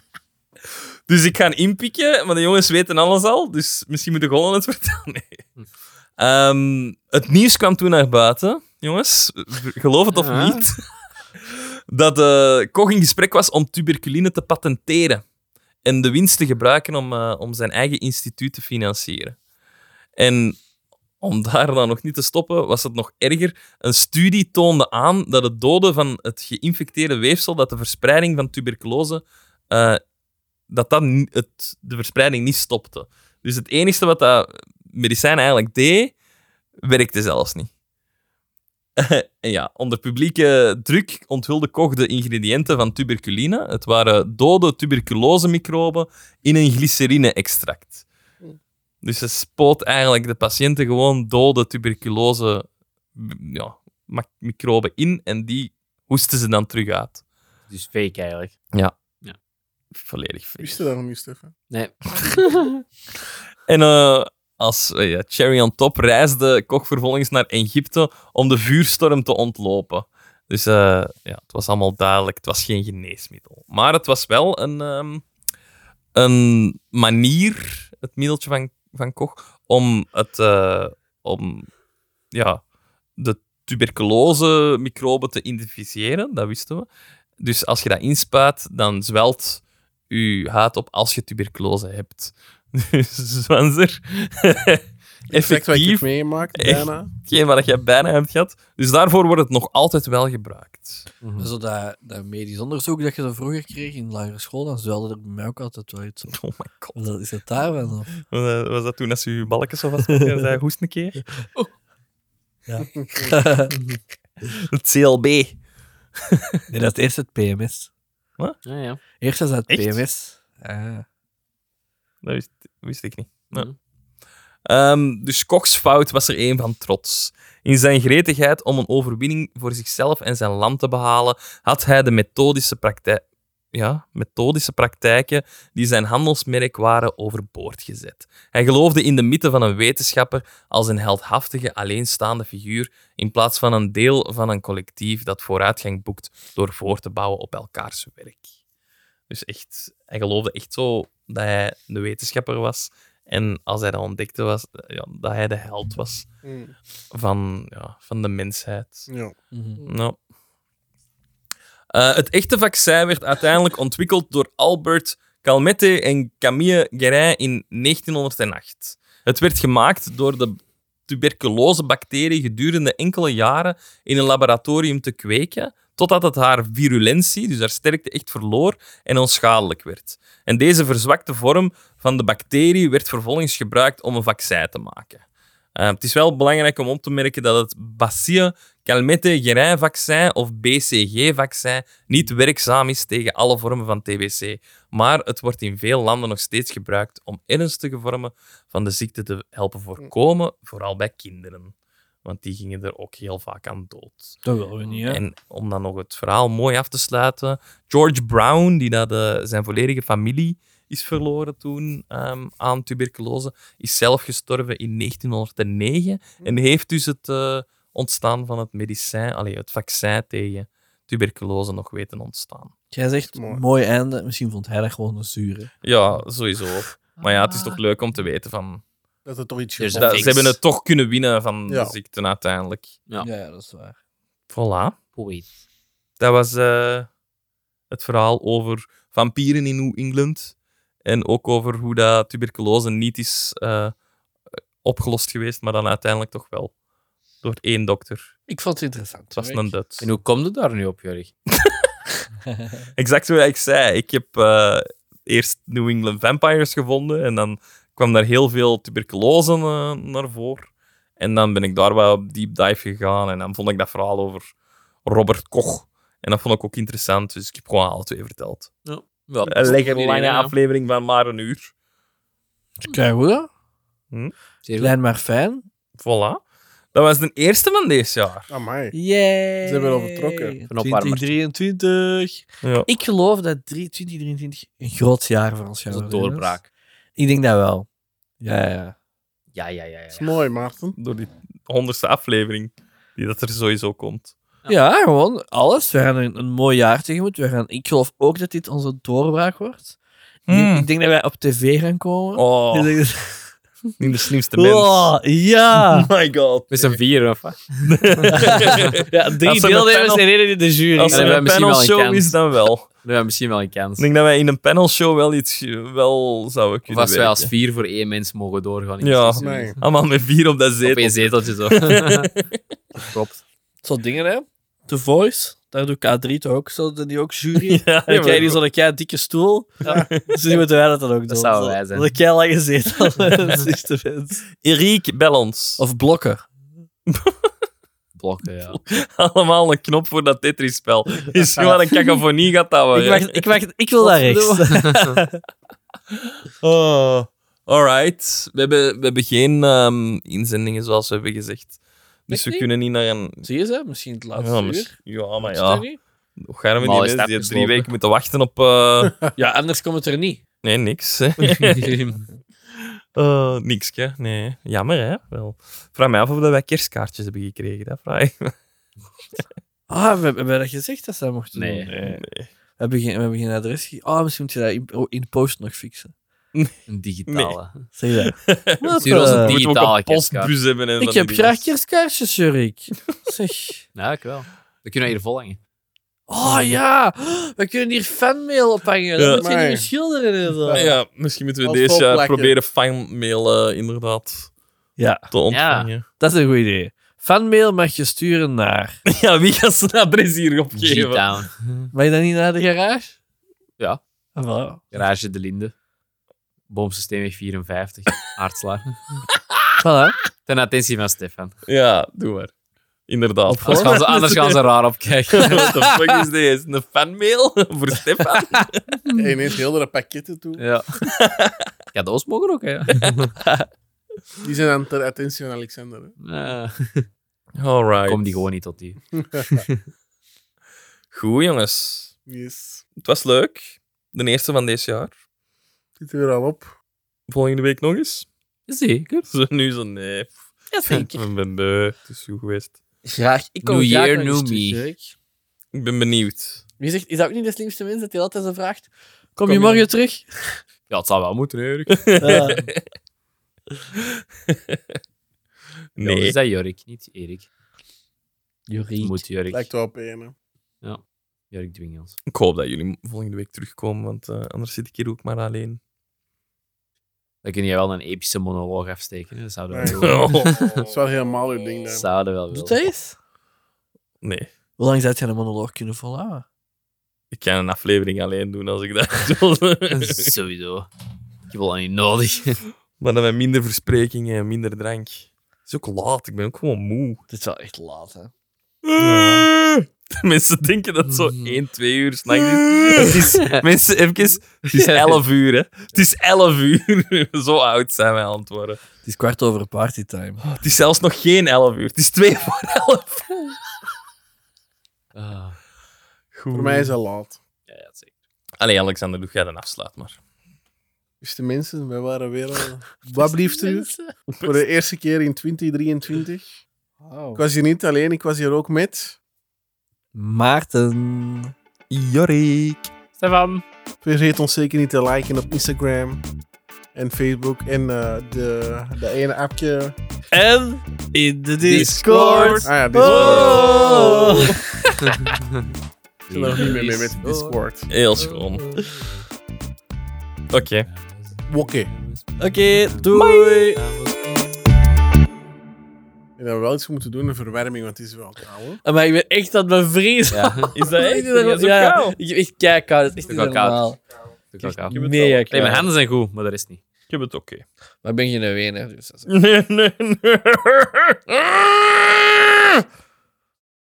Speaker 1: *laughs* dus ik ga inpikken. Maar de jongens weten alles al. Dus misschien moet ik gewoon het vertellen. Nee. Ehm, het nieuws kwam toen naar buiten. Jongens, geloof het of
Speaker 4: Ja.
Speaker 1: niet. *laughs* dat eh Koch in gesprek was om tuberculine te patenteren en de winst te gebruiken om, eh, om zijn eigen instituut te financieren. En om daar dan nog niet te stoppen, was het nog erger. Een studie toonde aan dat het doden van het geïnfecteerde weefsel, dat de verspreiding van tuberculose, eh, dat dat ni- het, de verspreiding niet stopte. Dus het enige wat dat medicijn eigenlijk deed, werkte zelfs niet. *laughs* en ja, onder publieke druk onthulde Koch de ingrediënten van tuberculine. Het waren dode tuberculosemicroben in een glycerine-extract. Dus ze spoot eigenlijk de patiënten gewoon dode tuberculose m- ja, ma- microben in en die hoesten ze dan terug uit.
Speaker 4: Dus fake eigenlijk.
Speaker 1: Volledig fake.
Speaker 3: Wist je dat nog niet, Stefan?
Speaker 4: Nee.
Speaker 1: En eh, als eh, ja, cherry on top reisde Koch vervolgens naar Egypte om de vuurstorm te ontlopen. Dus eh, ja, het was allemaal duidelijk. Het was geen geneesmiddel. Maar het was wel een, ehm, een manier, het middeltje van, van Koch, om, het, eh, om ja, de tuberculose microben te identificeren. Dat wisten we. Dus als je dat inspuit, dan zwelt je haat op als je tuberculose hebt. *laughs* Dus, Zwanzer,
Speaker 3: Effect wat ik heb
Speaker 1: effectief,
Speaker 3: meegemaakt,
Speaker 1: Echt.
Speaker 3: bijna.
Speaker 1: hetgeen wat jij bijna hebt gehad. Dus daarvoor wordt het nog altijd wel gebruikt.
Speaker 5: Zo dat, dat medisch onderzoek dat je zo vroeger kreeg in de lagere school, dan zwelde er bij mij ook altijd wel iets op.
Speaker 1: Oh my god.
Speaker 5: Is dat- Is dat daar wel
Speaker 1: *laughs*
Speaker 5: op?
Speaker 1: Was dat- Was dat toen als je je balken zo vast en zei, hoest een keer? Het CLB.
Speaker 5: nee, dat is eerst het PMS.
Speaker 4: Ja, ja.
Speaker 5: Eerst is dat het
Speaker 1: Echt?
Speaker 5: PMS. Ah.
Speaker 1: Dat wist, wist ik niet. Ja.
Speaker 4: Mhm.
Speaker 1: Ehm, dus Koks fout was er één van trots. In zijn gretigheid om een overwinning voor zichzelf en zijn land te behalen, had hij de methodische, praktijk, ja, methodische praktijken die zijn handelsmerk waren overboord gezet. Hij geloofde in de mythe van een wetenschapper als een heldhaftige, alleenstaande figuur in plaats van een deel van een collectief dat vooruitgang boekt door voor te bouwen op elkaars werk. Dus echt, hij geloofde echt zo dat hij de wetenschapper was. En als hij dat ontdekte, was, ja, dat hij de held was
Speaker 3: Mm.
Speaker 1: van, ja, van de mensheid.
Speaker 3: Ja.
Speaker 1: Nou. Eh, het echte vaccin werd uiteindelijk ontwikkeld door Albert Calmette en Camille Guérin in 1908. Het werd gemaakt door de tuberculosebacterie gedurende enkele jaren in een laboratorium te kweken, totdat het haar virulentie, dus haar sterkte, echt verloor en onschadelijk werd. En deze verzwakte vorm van de bacterie werd vervolgens gebruikt om een vaccin te maken. Eh, het is wel belangrijk om op te merken dat het Bacille calmette guérin vaccin of BCG-vaccin niet werkzaam is tegen alle vormen van TBC, maar het wordt in veel landen nog steeds gebruikt om ernstige vormen van de ziekte te helpen voorkomen, vooral bij kinderen. Want die gingen er ook heel vaak aan dood.
Speaker 5: Dat willen we niet, hè?
Speaker 1: En om dan nog het verhaal mooi af te sluiten. George Brown, die dat, eh, zijn volledige familie is verloren toen ehm, aan tuberculose, is zelf gestorven in 1909 en heeft dus het eh, ontstaan van het medicijn, allee, het vaccin tegen tuberculose nog weten ontstaan.
Speaker 5: Jij zegt
Speaker 3: Mooi.
Speaker 5: mooi. einde. Misschien vond hij dat gewoon een zure.
Speaker 1: Ja, sowieso. Maar ja, het
Speaker 5: Ah.
Speaker 1: is toch leuk om te weten van...
Speaker 3: Dat het toch iets
Speaker 4: Dus
Speaker 3: gevolgd
Speaker 1: dat-
Speaker 4: fix.
Speaker 1: ze hebben het toch kunnen winnen van
Speaker 3: Ja.
Speaker 1: de ziekte uiteindelijk.
Speaker 4: Ja.
Speaker 5: dat is waar.
Speaker 1: Voilà.
Speaker 4: Poëet.
Speaker 1: Dat was eh, het verhaal over vampieren in New England. En ook over hoe dat tuberculose niet is eh, opgelost geweest, maar dan uiteindelijk toch wel. Door één dokter.
Speaker 5: Ik vond het interessant.
Speaker 1: Het was een Duits.
Speaker 4: En hoe komt het daar nu op, Jorik?
Speaker 1: Exact wat ik zei. Ik heb eh, eerst New England Vampires gevonden en dan kwam daar heel veel tuberculose eh, naar voren. En dan ben ik daar wel op deep dive gegaan en dan vond ik dat verhaal over Robert Koch. En dat vond ik ook interessant, dus ik heb gewoon alle twee verteld.
Speaker 4: Ja,
Speaker 1: Een lekker
Speaker 4: iedereen,
Speaker 1: Eh, lange
Speaker 4: ja.
Speaker 1: aflevering van maar een uur.
Speaker 5: Kijk hoe dat?
Speaker 4: Zeer goed.
Speaker 5: Klein maar fijn.
Speaker 1: Voilà. Dat was de eerste van dit jaar.
Speaker 3: Amai.
Speaker 5: Yay!
Speaker 3: Ze hebben overtrokken.
Speaker 4: Een opwarmer.
Speaker 5: 2023.
Speaker 1: Ja.
Speaker 5: Ik geloof dat drie- 2023 een groot jaar voor ons gaat
Speaker 4: Dat is een
Speaker 5: worden.
Speaker 4: doorbraak.
Speaker 5: jongens. Ik denk dat wel. Ja, ja.
Speaker 4: Ja, ja, ja. ja.
Speaker 3: Dat is mooi, Maarten.
Speaker 1: Door die honderdste aflevering die dat er sowieso komt.
Speaker 5: Ja, gewoon alles. We gaan een, een mooi jaar tegemoet. We gaan, ik geloof ook dat dit onze doorbraak wordt.
Speaker 1: Hmm.
Speaker 5: Ik, ik denk dat wij op tv gaan komen. Ik
Speaker 1: Oh,
Speaker 5: denk dat-
Speaker 1: niet de slimste mens.
Speaker 5: Oh, ja!
Speaker 1: my god.
Speaker 4: Met z'n vier, of wat?
Speaker 5: ja, drie
Speaker 1: Als er een
Speaker 5: deelnemers
Speaker 1: panel-
Speaker 5: en één in de jury.
Speaker 1: Als
Speaker 4: dan
Speaker 1: er
Speaker 4: hebben
Speaker 1: een
Speaker 4: we misschien wel een
Speaker 1: panelshow
Speaker 4: kans.
Speaker 1: is, dan wel.
Speaker 4: Dan hebben we misschien wel een
Speaker 1: Ik
Speaker 4: kans.
Speaker 1: denk dat wij in een panelshow wel iets eh, wel zouden
Speaker 4: Of
Speaker 1: kunnen
Speaker 4: als wij als
Speaker 1: werken.
Speaker 4: vier voor één mens mogen doorgaan. in
Speaker 1: Ja.
Speaker 4: het seizoen.
Speaker 3: Nee.
Speaker 1: Allemaal met vier op dat
Speaker 4: Op
Speaker 1: zetel.
Speaker 4: één zeteltje zo. Klopt.
Speaker 5: Zo dingen, hè. The Voice, daar doe K3 toch ook, zo doen die ook jury. *laughs* En
Speaker 1: *laughs* Ja,
Speaker 5: dan krijg je
Speaker 1: maar-
Speaker 5: zo'n kei dikke stoel.
Speaker 1: *laughs*
Speaker 5: Dus die moeten wij dat dan ook doen.
Speaker 4: zouden
Speaker 5: Zo-
Speaker 4: wij zijn.
Speaker 5: Zo'n kei lange
Speaker 4: *laughs*
Speaker 1: *laughs*
Speaker 5: zetel. Dat is de wens.
Speaker 1: Erik, bel ons.
Speaker 5: Of blokken.
Speaker 4: Blokken, ja.
Speaker 1: *laughs* Allemaal een knop voor dat Tetris-spel.
Speaker 5: *laughs*
Speaker 1: Is gewoon een cacophonie gaat dat worden.
Speaker 5: ik, wacht, ik, wacht, ik wil daar rechts.
Speaker 1: *laughs* Oh. Alright. We hebben, we hebben geen ehm, inzendingen zoals we hebben gezegd. Dus
Speaker 5: Echt
Speaker 1: we
Speaker 5: niet?
Speaker 1: kunnen niet naar een.
Speaker 5: Zie je ze? Misschien het
Speaker 1: Ja, mis- ja, maar ja. Hoe gaan we die
Speaker 4: Maar al is
Speaker 1: mensen die
Speaker 4: dat
Speaker 1: drie
Speaker 4: afgesloten.
Speaker 1: weken moeten wachten
Speaker 5: *laughs*
Speaker 1: op. eh,
Speaker 5: Ja, anders komt het er niet.
Speaker 1: Nee, niks. Hè. Eh, niks, hè? Nee. Jammer, hè? Wel. Vraag mij af of dat wij kerstkaartjes hebben gekregen. Dat vraag ik. me.
Speaker 5: Ah, we hebben we dat gezegd dat ze dat mochten
Speaker 4: Nee.
Speaker 5: doen.
Speaker 1: *laughs*
Speaker 5: We hebben geen, we hebben geen adres gegeven. Ah, misschien moet je dat in, oh, in de post nog fixen.
Speaker 4: Een digitale.
Speaker 5: Zeg dat. *laughs* Wat,
Speaker 4: Stuur ons een
Speaker 5: eh,
Speaker 1: Moeten we ook
Speaker 4: Digitale
Speaker 1: een postbus
Speaker 4: kerstkaart.
Speaker 1: hebben? En
Speaker 5: ik
Speaker 1: van
Speaker 5: heb
Speaker 1: die
Speaker 5: graag
Speaker 1: dingen.
Speaker 5: *laughs* kerstkaarsjes, Jurik. Zeg.
Speaker 4: Nou, Ja, ik wel. We kunnen hier volhangen.
Speaker 5: Oh ja, we kunnen hier fanmail ophangen.
Speaker 1: Ja.
Speaker 5: Dat moet je
Speaker 3: Maar-
Speaker 5: niet schilderen. en zo.
Speaker 1: Ja, misschien moeten we
Speaker 3: Als
Speaker 1: deze jaar
Speaker 3: volplekje.
Speaker 1: proberen fanmail eh, inderdaad
Speaker 5: Ja,
Speaker 1: te ontvangen.
Speaker 5: dat is een goed idee. Fanmail mag je sturen naar.
Speaker 1: *laughs* Ja, wie gaat zijn adres hier opgeven?
Speaker 4: G-Town.
Speaker 5: Mag je dat niet naar de garage?
Speaker 4: Ja.
Speaker 5: Ah, voilà.
Speaker 4: Garage de Linde. Boomsysteemweg 54. Aardslaar.
Speaker 5: Voilà.
Speaker 4: Ten attentie van Stefan.
Speaker 1: Ja, doe maar. Inderdaad.
Speaker 4: Anders gaan ze, anders gaan ze raar opkijken.
Speaker 1: *laughs* What the fuck is dit? Een fanmail *laughs* voor Stefan? Hm.
Speaker 3: En ineens heel de pakketten toe.
Speaker 4: Ja. Cadeaus mogen ook, hè. ja.
Speaker 3: Die zijn aan ter attentie van Alexander. hè.
Speaker 4: Eh,
Speaker 1: Alright.
Speaker 4: Kom die gewoon niet tot die.
Speaker 1: Goed, jongens.
Speaker 3: Yes.
Speaker 1: Het was leuk. De eerste van dit jaar.
Speaker 3: Zit er weer al op.
Speaker 1: Volgende week nog eens. *laughs*
Speaker 4: Zeker.
Speaker 1: Zo, nu zo, nee. pff,
Speaker 5: Ja, *laughs* zeker.
Speaker 1: Ik ben beu. Het is goed geweest.
Speaker 5: Graag. Ik kom
Speaker 4: New
Speaker 5: graag
Speaker 4: year,
Speaker 5: nog eens
Speaker 4: new
Speaker 5: terug,
Speaker 4: me.
Speaker 5: Dirk.
Speaker 1: Ik ben benieuwd.
Speaker 5: Wie zegt, is dat ook niet de slimste mens dat hij altijd zo vraagt? Kom,
Speaker 1: je
Speaker 5: je morgen terug?
Speaker 4: Ja, het zou wel moeten, hè, Jorik.
Speaker 5: *laughs* Ja.
Speaker 1: Nee.
Speaker 4: Ja, is dat Jorik, niet Erik. Het
Speaker 5: Jorie.
Speaker 4: moet Jorik.
Speaker 3: Lijkt wel op één.
Speaker 1: Oh.
Speaker 3: hè.
Speaker 4: Jorik Dwingels.
Speaker 1: Ik hoop dat jullie volgende week terugkomen, want eh, anders zit ik hier ook maar alleen.
Speaker 4: Dan kun je wel een epische monoloog afsteken. hè. Dat zouden we
Speaker 3: Nee. *laughs*
Speaker 4: wel willen.
Speaker 1: Oh,
Speaker 3: Dat is wel helemaal uw ding.
Speaker 4: Dat
Speaker 3: Dan.
Speaker 4: Zouden we wel
Speaker 5: Doet
Speaker 4: willen.
Speaker 5: dat eens?
Speaker 1: nee.
Speaker 5: Hoe lang zou je een monoloog kunnen volhouden?
Speaker 1: Ik kan een aflevering alleen doen als ik dat *laughs* zo...
Speaker 4: Sowieso. Ik heb al niet nodig.
Speaker 1: maar dan met minder versprekingen en minder drank. Het is ook laat, ik ben ook gewoon moe.
Speaker 5: Dit is wel echt laat, hè?
Speaker 1: *laughs* Mensen denken dat het zo
Speaker 5: Mm.
Speaker 1: 1, 2 uur s'nachts is. Het is. Mensen, even, het
Speaker 4: *laughs*
Speaker 1: is 11 uur, hè. Het is 11 uur. *laughs* zo oud zijn wij aan het worden.
Speaker 5: Het is kwart over partytime.
Speaker 1: Het is zelfs nog geen 11 uur. Het is 2 voor 11.
Speaker 4: Ah,
Speaker 1: Goed.
Speaker 3: Voor mij is dat laat.
Speaker 4: ja, ja, zeker.
Speaker 1: Allee, Alexander, doe jij dan afsluit maar.
Speaker 3: Beste mensen, wij waren weer
Speaker 1: *laughs*
Speaker 3: al... Wat blieft u? Voor de eerste keer in 2023. Ik was hier niet alleen, ik was hier ook met...
Speaker 5: Maarten.
Speaker 1: Jorik.
Speaker 4: Stefan.
Speaker 3: Vergeet ons zeker niet te liken op Instagram en Facebook en eh, de, de ene appje.
Speaker 1: En in de
Speaker 3: Ah
Speaker 1: Discord.
Speaker 3: ja, Discord.
Speaker 1: Oh.
Speaker 3: Ik ben er nog niet meer mee met Discord.
Speaker 1: Heel schoon. Oké.
Speaker 3: Oké.
Speaker 5: Oké, doei.
Speaker 3: En dan wel iets moeten doen, een verwarming, want het is wel koud. hoor.
Speaker 5: Ah, Maar ik ben echt aan mijn vries.
Speaker 4: Ja,
Speaker 1: *laughs* Is dat echt? Dat is ook
Speaker 5: ja,
Speaker 1: koud.
Speaker 5: Ik heb echt keikoud. Het is echt
Speaker 4: Ik
Speaker 5: niet
Speaker 4: heb ook koud.
Speaker 5: normaal.
Speaker 4: doe ik ook af.
Speaker 1: heb het
Speaker 5: Mega
Speaker 1: wel.
Speaker 5: koud.
Speaker 4: Nee, mijn handen zijn goed, maar de rest niet.
Speaker 1: Ik heb het oké.
Speaker 5: Maar ik ben geen wener, dus dat is...
Speaker 1: Nee, nee, nee.